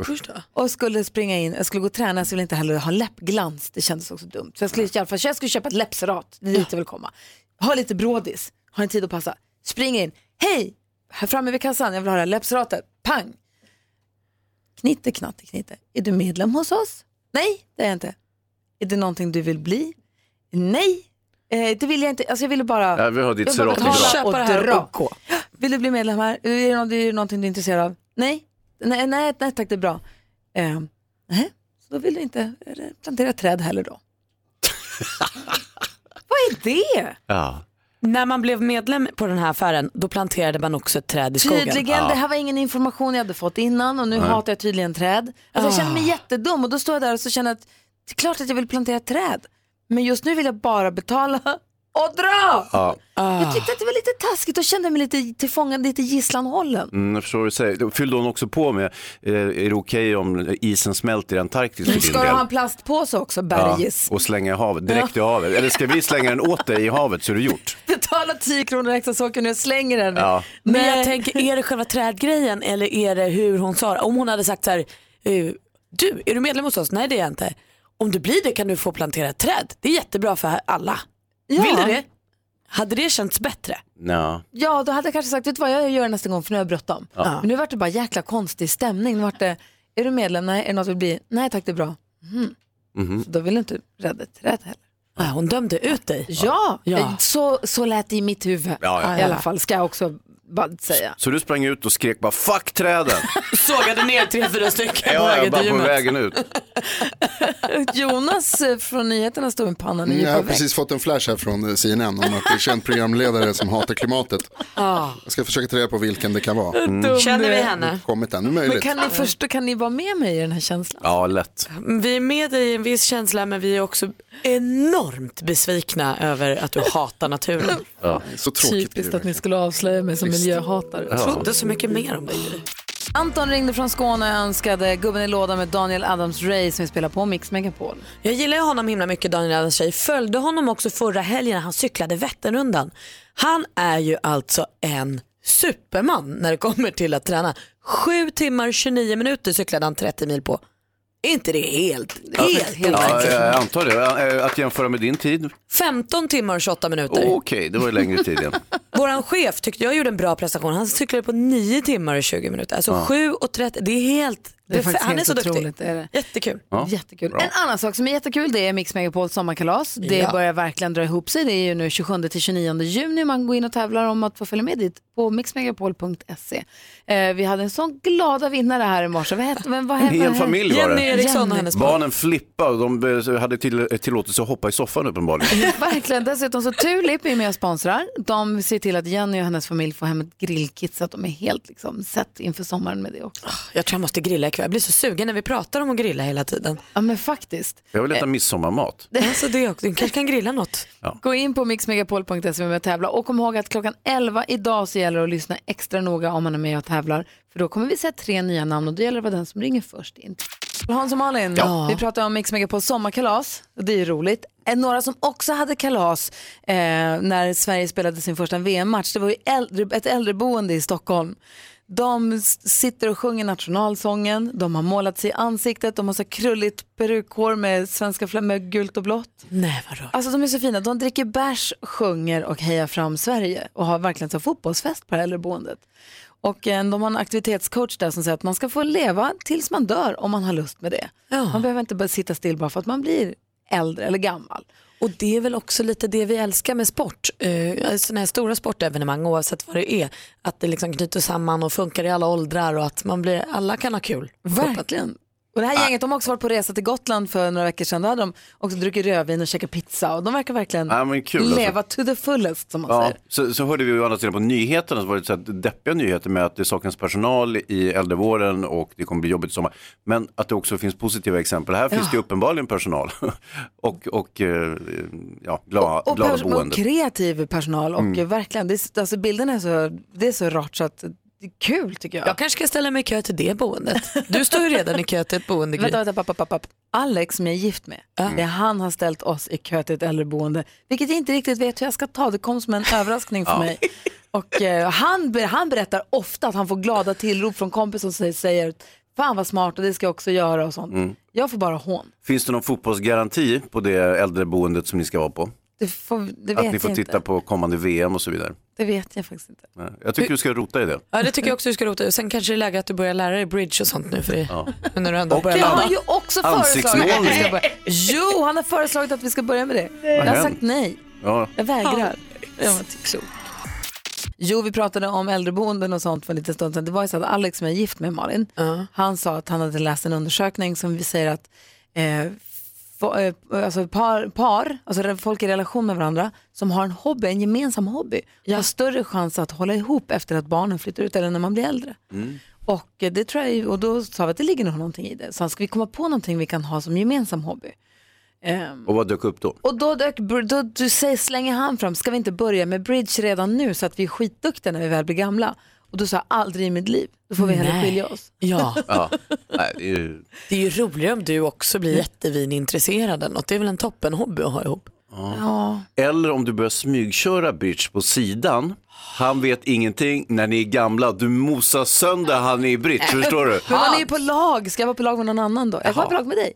[SPEAKER 1] Och skulle springa in, jag skulle gå och träna, så jag ville inte heller ha läppglans. Det kändes också dumt. Så jag skulle, i alla fall, jag skulle köpa ett läppserat, det är dit jag vill komma. Ha lite brådis, har en tid att passa. Spring in, hej, här framme vid kassan, jag vill ha det här läppseratet. Pang! Knitte, knatte, knitte. Är du medlem hos oss? Nej, det är jag inte. Är det någonting du vill bli? Nej, eh, det vill jag inte. Alltså jag ville bara...
[SPEAKER 2] Ja, vi har ditt
[SPEAKER 1] jag vill bara
[SPEAKER 2] serat i gratis.
[SPEAKER 1] betala och
[SPEAKER 2] Köpa det här
[SPEAKER 1] dra.
[SPEAKER 2] och gå.
[SPEAKER 1] Vill du bli medlem här? Är det, något, är det någonting du är intresserad av? Nej, nej, nej, nej tack det är bra. Eh, nej, så då vill du inte eh, plantera träd heller då. Vad är det?
[SPEAKER 2] Ja.
[SPEAKER 3] När man blev medlem på den här affären då planterade man också ett träd i skogen.
[SPEAKER 1] Tydligen, det här var ingen information jag hade fått innan och nu
[SPEAKER 3] Nej.
[SPEAKER 1] hatar jag tydligen träd. Alltså, jag
[SPEAKER 3] Ah.
[SPEAKER 1] känner mig jättedum och då står jag där och så känner jag att det är klart att jag vill plantera träd. Men just nu vill jag bara betala och dra.
[SPEAKER 2] Ja.
[SPEAKER 3] Ah.
[SPEAKER 1] Jag tyckte att det var lite taskigt och kände mig lite tillfångad, lite gisslanhållen.
[SPEAKER 2] Mm, jag förstår vad du säger. Fyllde hon också på med, eh, är det okej om isen smälter i Antarktis för din
[SPEAKER 1] Ska du ha
[SPEAKER 2] del?
[SPEAKER 1] en plastpåse också,
[SPEAKER 2] Ja,
[SPEAKER 1] Bergis?
[SPEAKER 2] och slänga i havet, direkt i havet. Eller ska vi slänga den åt dig i havet så är det gjort.
[SPEAKER 1] Betala 10 kronor extra så åker jag nu och slänger den.
[SPEAKER 2] Ja.
[SPEAKER 3] Men jag tänker, är det själva trädgrejen eller är det hur hon sa det? Om hon hade sagt så här, eh, du, är du medlem hos oss? Nej det är jag inte. Om du blir det kan du få plantera ett träd. Det är jättebra för alla. Vill du det? Hade det känts bättre?
[SPEAKER 2] Ja.
[SPEAKER 1] Ja, då hade jag kanske sagt, vet du vad, jag gör det nästa gång för nu har jag bråttom.
[SPEAKER 2] Ja.
[SPEAKER 1] Men nu vart det bara jäkla konstig stämning. Nu vart det, är du medlem? Nej, är det något du vill bli? Nej tack, det är bra. Mhm. Så då vill du inte rädda ett träd heller.
[SPEAKER 3] Nej, hon dömde ut dig.
[SPEAKER 1] Ja,
[SPEAKER 3] Ja.
[SPEAKER 1] Så, så lät det i mitt huvud.
[SPEAKER 2] Ja, ja.
[SPEAKER 1] I alla fall ska jag också bara säga.
[SPEAKER 2] Så du sprang ut och skrek bara fuck träden.
[SPEAKER 3] Sågade ner tre, fyra stycken på
[SPEAKER 2] ja,
[SPEAKER 3] vägen
[SPEAKER 2] jag bara
[SPEAKER 3] till
[SPEAKER 2] på
[SPEAKER 3] gymmet.
[SPEAKER 2] vägen ut.
[SPEAKER 1] Jonas eh, från nyheterna stod med pannan i
[SPEAKER 13] Jag har
[SPEAKER 1] djupa vägg.
[SPEAKER 13] Mm, precis fått en flash här från eh, CNN om att det är känd programledare som hatar klimatet.
[SPEAKER 1] Ah.
[SPEAKER 13] Jag ska försöka ta reda på vilken det kan vara.
[SPEAKER 2] Mm.
[SPEAKER 1] Hur dum Känner du vi är. henne?
[SPEAKER 13] Det har Kommit än, det är
[SPEAKER 1] Men
[SPEAKER 13] möjligt.
[SPEAKER 1] kan ni, förstå, kan ni vara med mig i den här känslan?
[SPEAKER 2] Ja, lätt.
[SPEAKER 3] Vi är med dig i en viss känsla men vi är också enormt besvikna över att du hatar naturen.
[SPEAKER 2] Ja.
[SPEAKER 13] Så
[SPEAKER 1] Typiskt att ni skulle avslöja mig som
[SPEAKER 3] Visst.
[SPEAKER 1] miljöhatare.
[SPEAKER 3] Jag trodde så mycket mer om dig.
[SPEAKER 1] Anton ringde från Skåne och önskade Gubben i lådan med Daniel Adams-Ray som vi spelar på Mix Megapol.
[SPEAKER 3] Jag gillar ju honom himla mycket, Daniel Adams tjej. Följde honom också förra helgen när han cyklade Vätternrundan. Han är ju alltså en superman när det kommer till att träna. 7 timmar 29 minuter cyklade han 30 mil på. Är inte det helt, helt, helt
[SPEAKER 2] ja,
[SPEAKER 3] verkligt?
[SPEAKER 2] jag antar det. Eh, Att jämföra med din tid?
[SPEAKER 3] 15 timmar och 28 minuter.
[SPEAKER 2] Okej, det var ju längre tid igen.
[SPEAKER 3] Våran chef tyckte jag gjorde en bra prestation. Han cyklade på 9 timmar och 20 minuter. Alltså
[SPEAKER 2] Ja.
[SPEAKER 3] 7 och 30. Det är helt
[SPEAKER 1] Det är faktiskt
[SPEAKER 3] han är
[SPEAKER 1] helt
[SPEAKER 3] så
[SPEAKER 1] otroligt,
[SPEAKER 3] duktig.
[SPEAKER 1] är det.
[SPEAKER 3] Jättekul.
[SPEAKER 1] Ja, Jättekul.
[SPEAKER 7] En annan sak som är jättekul det är Mix Megapols sommarkalas. Det
[SPEAKER 1] Ja.
[SPEAKER 7] börjar verkligen dra ihop sig. Det är ju nu 27-29 juni man går in och tävlar om att få följa med dit på mixmegapol.se. Eh, vi hade en sån glada vinnare här i morse. Vad hette vem? Vad
[SPEAKER 2] En
[SPEAKER 7] hette-
[SPEAKER 2] hel
[SPEAKER 7] vad
[SPEAKER 2] familj
[SPEAKER 7] hette-
[SPEAKER 2] var det.
[SPEAKER 7] Jenny.
[SPEAKER 2] Barnen flippade och de eh, hade till, tillåtelse att hoppa i soffan uppenbarligen.
[SPEAKER 7] Verkligen. Dessutom så Tulip är med och sponsrar. De ser till att Jenny och hennes familj får hem ett grillkit så att de är helt liksom, sett inför sommaren med det också.
[SPEAKER 3] Jag tror jag måste grilla ikväll. Jag blir så sugen när vi pratar om att grilla hela tiden.
[SPEAKER 7] Ja men faktiskt.
[SPEAKER 2] Jag vill
[SPEAKER 1] Eh,
[SPEAKER 2] äta midsommarmat.
[SPEAKER 3] Alltså det också. Du kanske kan grilla något.
[SPEAKER 7] Gå in på mixmegapol.se med och tävla och kom ihåg att klockan 11 idag så gäller det att lyssna extra noga om man är med och tävlar för då kommer vi se tre nya namn och då gäller det att vara den som ringer först in.
[SPEAKER 1] Hans och Malin,
[SPEAKER 7] Ja.
[SPEAKER 1] vi pratar om Mix Megapol sommarkalas. och Det är ju roligt. Eh, Några som också hade kalas eh, när Sverige spelade sin första VM-match, det var ju äldre, ett äldreboende i Stockholm. De s- sitter och sjunger nationalsången, de har målat sig i ansiktet, de har så här krulligt perukhår med svenska flaggor, med gult och blått.
[SPEAKER 3] Nej, vad
[SPEAKER 1] Alltså de är så fina, de dricker bärs, sjunger och hejar fram Sverige och har verkligen så fotbollsfest på det här äldreboendet. Och eh, de har en aktivitetscoach där som säger att man ska få leva tills man dör om man har lust med det. Man behöver inte bara sitta still bara för att man blir äldre eller gammal.
[SPEAKER 3] Och det är väl också lite det vi älskar med sport, eh, sådana här stora sportevenemang oavsett vad det är. Att det liksom knyter samman och funkar i alla åldrar och att man blir, alla kan ha kul.
[SPEAKER 1] Verkligen. Och det här gänget de har också varit på resa till Gotland för några veckor sedan. Då hade de också druckit rödvin och käkat pizza och de verkar verkligen
[SPEAKER 2] Ja, men kul alltså.
[SPEAKER 1] leva to the fullest som man
[SPEAKER 2] Ja,
[SPEAKER 1] säger.
[SPEAKER 2] så, så hörde vi ju å andra sidan på nyheterna så var det så här deppiga nyheter med att det saknas personal i äldrevården och det kommer bli jobbigt i sommar. Men att det också finns positiva exempel. Här finns det ju uppenbarligen personal och, och eh, ja, glada,
[SPEAKER 1] Och,
[SPEAKER 2] glada
[SPEAKER 1] pers- och
[SPEAKER 2] boende.
[SPEAKER 1] kreativ personal och
[SPEAKER 2] Mm.
[SPEAKER 1] verkligen, det är, s- alltså bilderna är så, det är så rart så att det är kul tycker jag.
[SPEAKER 3] Jag kanske ska ställa mig i kö till det boendet. Du står ju redan i kö till ett boende. Gry.
[SPEAKER 1] Vänta, vänta, papp, papp, papp. Alex som jag är gift med, det är han har ställt oss i kö till ett äldreboende, vilket jag inte riktigt vet hur jag ska ta. Det kom som en överraskning för
[SPEAKER 7] Ja.
[SPEAKER 1] mig. Och, eh, han, ber- han berättar ofta att han får glada tillrop från kompisar som säger, säger fan vad smart och det ska jag också göra och sånt.
[SPEAKER 2] Mm.
[SPEAKER 1] Jag får bara hån.
[SPEAKER 2] Finns det någon fotbollsgaranti på det äldreboendet som ni ska vara på?
[SPEAKER 1] Det, får, det
[SPEAKER 2] Att
[SPEAKER 1] vet
[SPEAKER 2] ni får
[SPEAKER 1] jag
[SPEAKER 2] titta
[SPEAKER 1] inte.
[SPEAKER 2] på kommande VM och så vidare.
[SPEAKER 1] Det vet jag faktiskt inte.
[SPEAKER 2] Nej, Jag tycker du ska rota i det.
[SPEAKER 3] Ja det tycker jag också du ska rota ut. Sen kanske det är läge att du börjar lära dig bridge och sånt nu för det,
[SPEAKER 2] ja.
[SPEAKER 3] när du ändå
[SPEAKER 2] Och
[SPEAKER 3] börjar
[SPEAKER 2] jag har
[SPEAKER 3] ladda.
[SPEAKER 2] ju
[SPEAKER 1] också föreslagit att vi ska
[SPEAKER 2] Ansiktsmålning.
[SPEAKER 1] börja. Jo, han har föreslagit att vi ska börja med det. Jag har
[SPEAKER 2] händer?
[SPEAKER 1] sagt nej.
[SPEAKER 2] Ja.
[SPEAKER 1] Jag vägrar. Jag var inte klok. Jo, vi pratade om äldreboenden och sånt för en liten stund sedan. Det var ju så att Alex som jag är gift med, Malin, han sa att han hade läst en undersökning som vi säger att eh, fo- eh, alltså par, par, alltså re- folk i relation med varandra, som har en hobby, en gemensam hobby, har större chans att hålla ihop efter att barnen flyttar ut eller när man blir äldre.
[SPEAKER 2] Mm.
[SPEAKER 1] Och, eh, det tror jag, ju- och då sa vi att det ligger nog någonting i det. Så han, ska vi komma på någonting vi kan ha som gemensam hobby? Ehm,
[SPEAKER 2] Och vad dök upp då?
[SPEAKER 1] och då, dök, då du säger, slänger han fram, ska vi inte börja med bridge redan nu så att vi är skitduktiga när vi väl blir gamla? Och då sa jag aldrig i mitt liv, då får vi hellre
[SPEAKER 3] Nej.
[SPEAKER 1] skilja oss.
[SPEAKER 3] Ja.
[SPEAKER 2] Ja. Nej, det är ju...
[SPEAKER 3] Det är ju roligare om du också blir jättevinintresserad eller något. Det är väl en toppen hobby att ha ihop.
[SPEAKER 1] Ja.
[SPEAKER 2] Eller om du börjar smygköra bitch på sidan. Han vet ingenting när ni är gamla. Du mosar sönder han i bridge, förstår du?
[SPEAKER 1] Men man är ju på lag, ska jag vara på lag med någon annan då? Jag kan vara på lag med dig.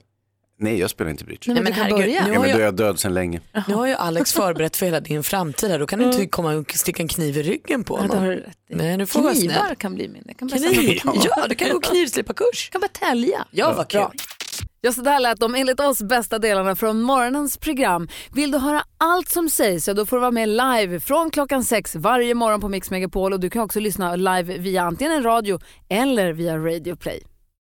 [SPEAKER 2] Nej, jag spelar inte bridge.
[SPEAKER 1] Nej, men Nej, men du kan herregud, börja. nu
[SPEAKER 2] Ja,
[SPEAKER 1] har
[SPEAKER 2] men då är
[SPEAKER 1] jag-
[SPEAKER 2] jag död sedan länge.
[SPEAKER 3] Nu har ju Alex förberett för hela din framtid här. Då kan du inte komma och sticka en kniv i ryggen på honom.
[SPEAKER 1] Mm. det har du rätt
[SPEAKER 3] Nej, du får vara
[SPEAKER 1] Knivar
[SPEAKER 3] snäll.
[SPEAKER 1] kan bli min. Jag kan börja samla
[SPEAKER 3] Kniv?
[SPEAKER 1] på knivar.
[SPEAKER 3] Ja, du kan gå knivslipparkurs.
[SPEAKER 1] Jag kan bara tälja.
[SPEAKER 7] Ja, vad kul. Ja, så där lät de enligt oss bästa delarna från morgonens program. Vill du höra allt som sägs så då får du vara med live från klockan sex varje morgon på Mix Megapol och du kan också lyssna live via antingen en radio eller via Radio Play.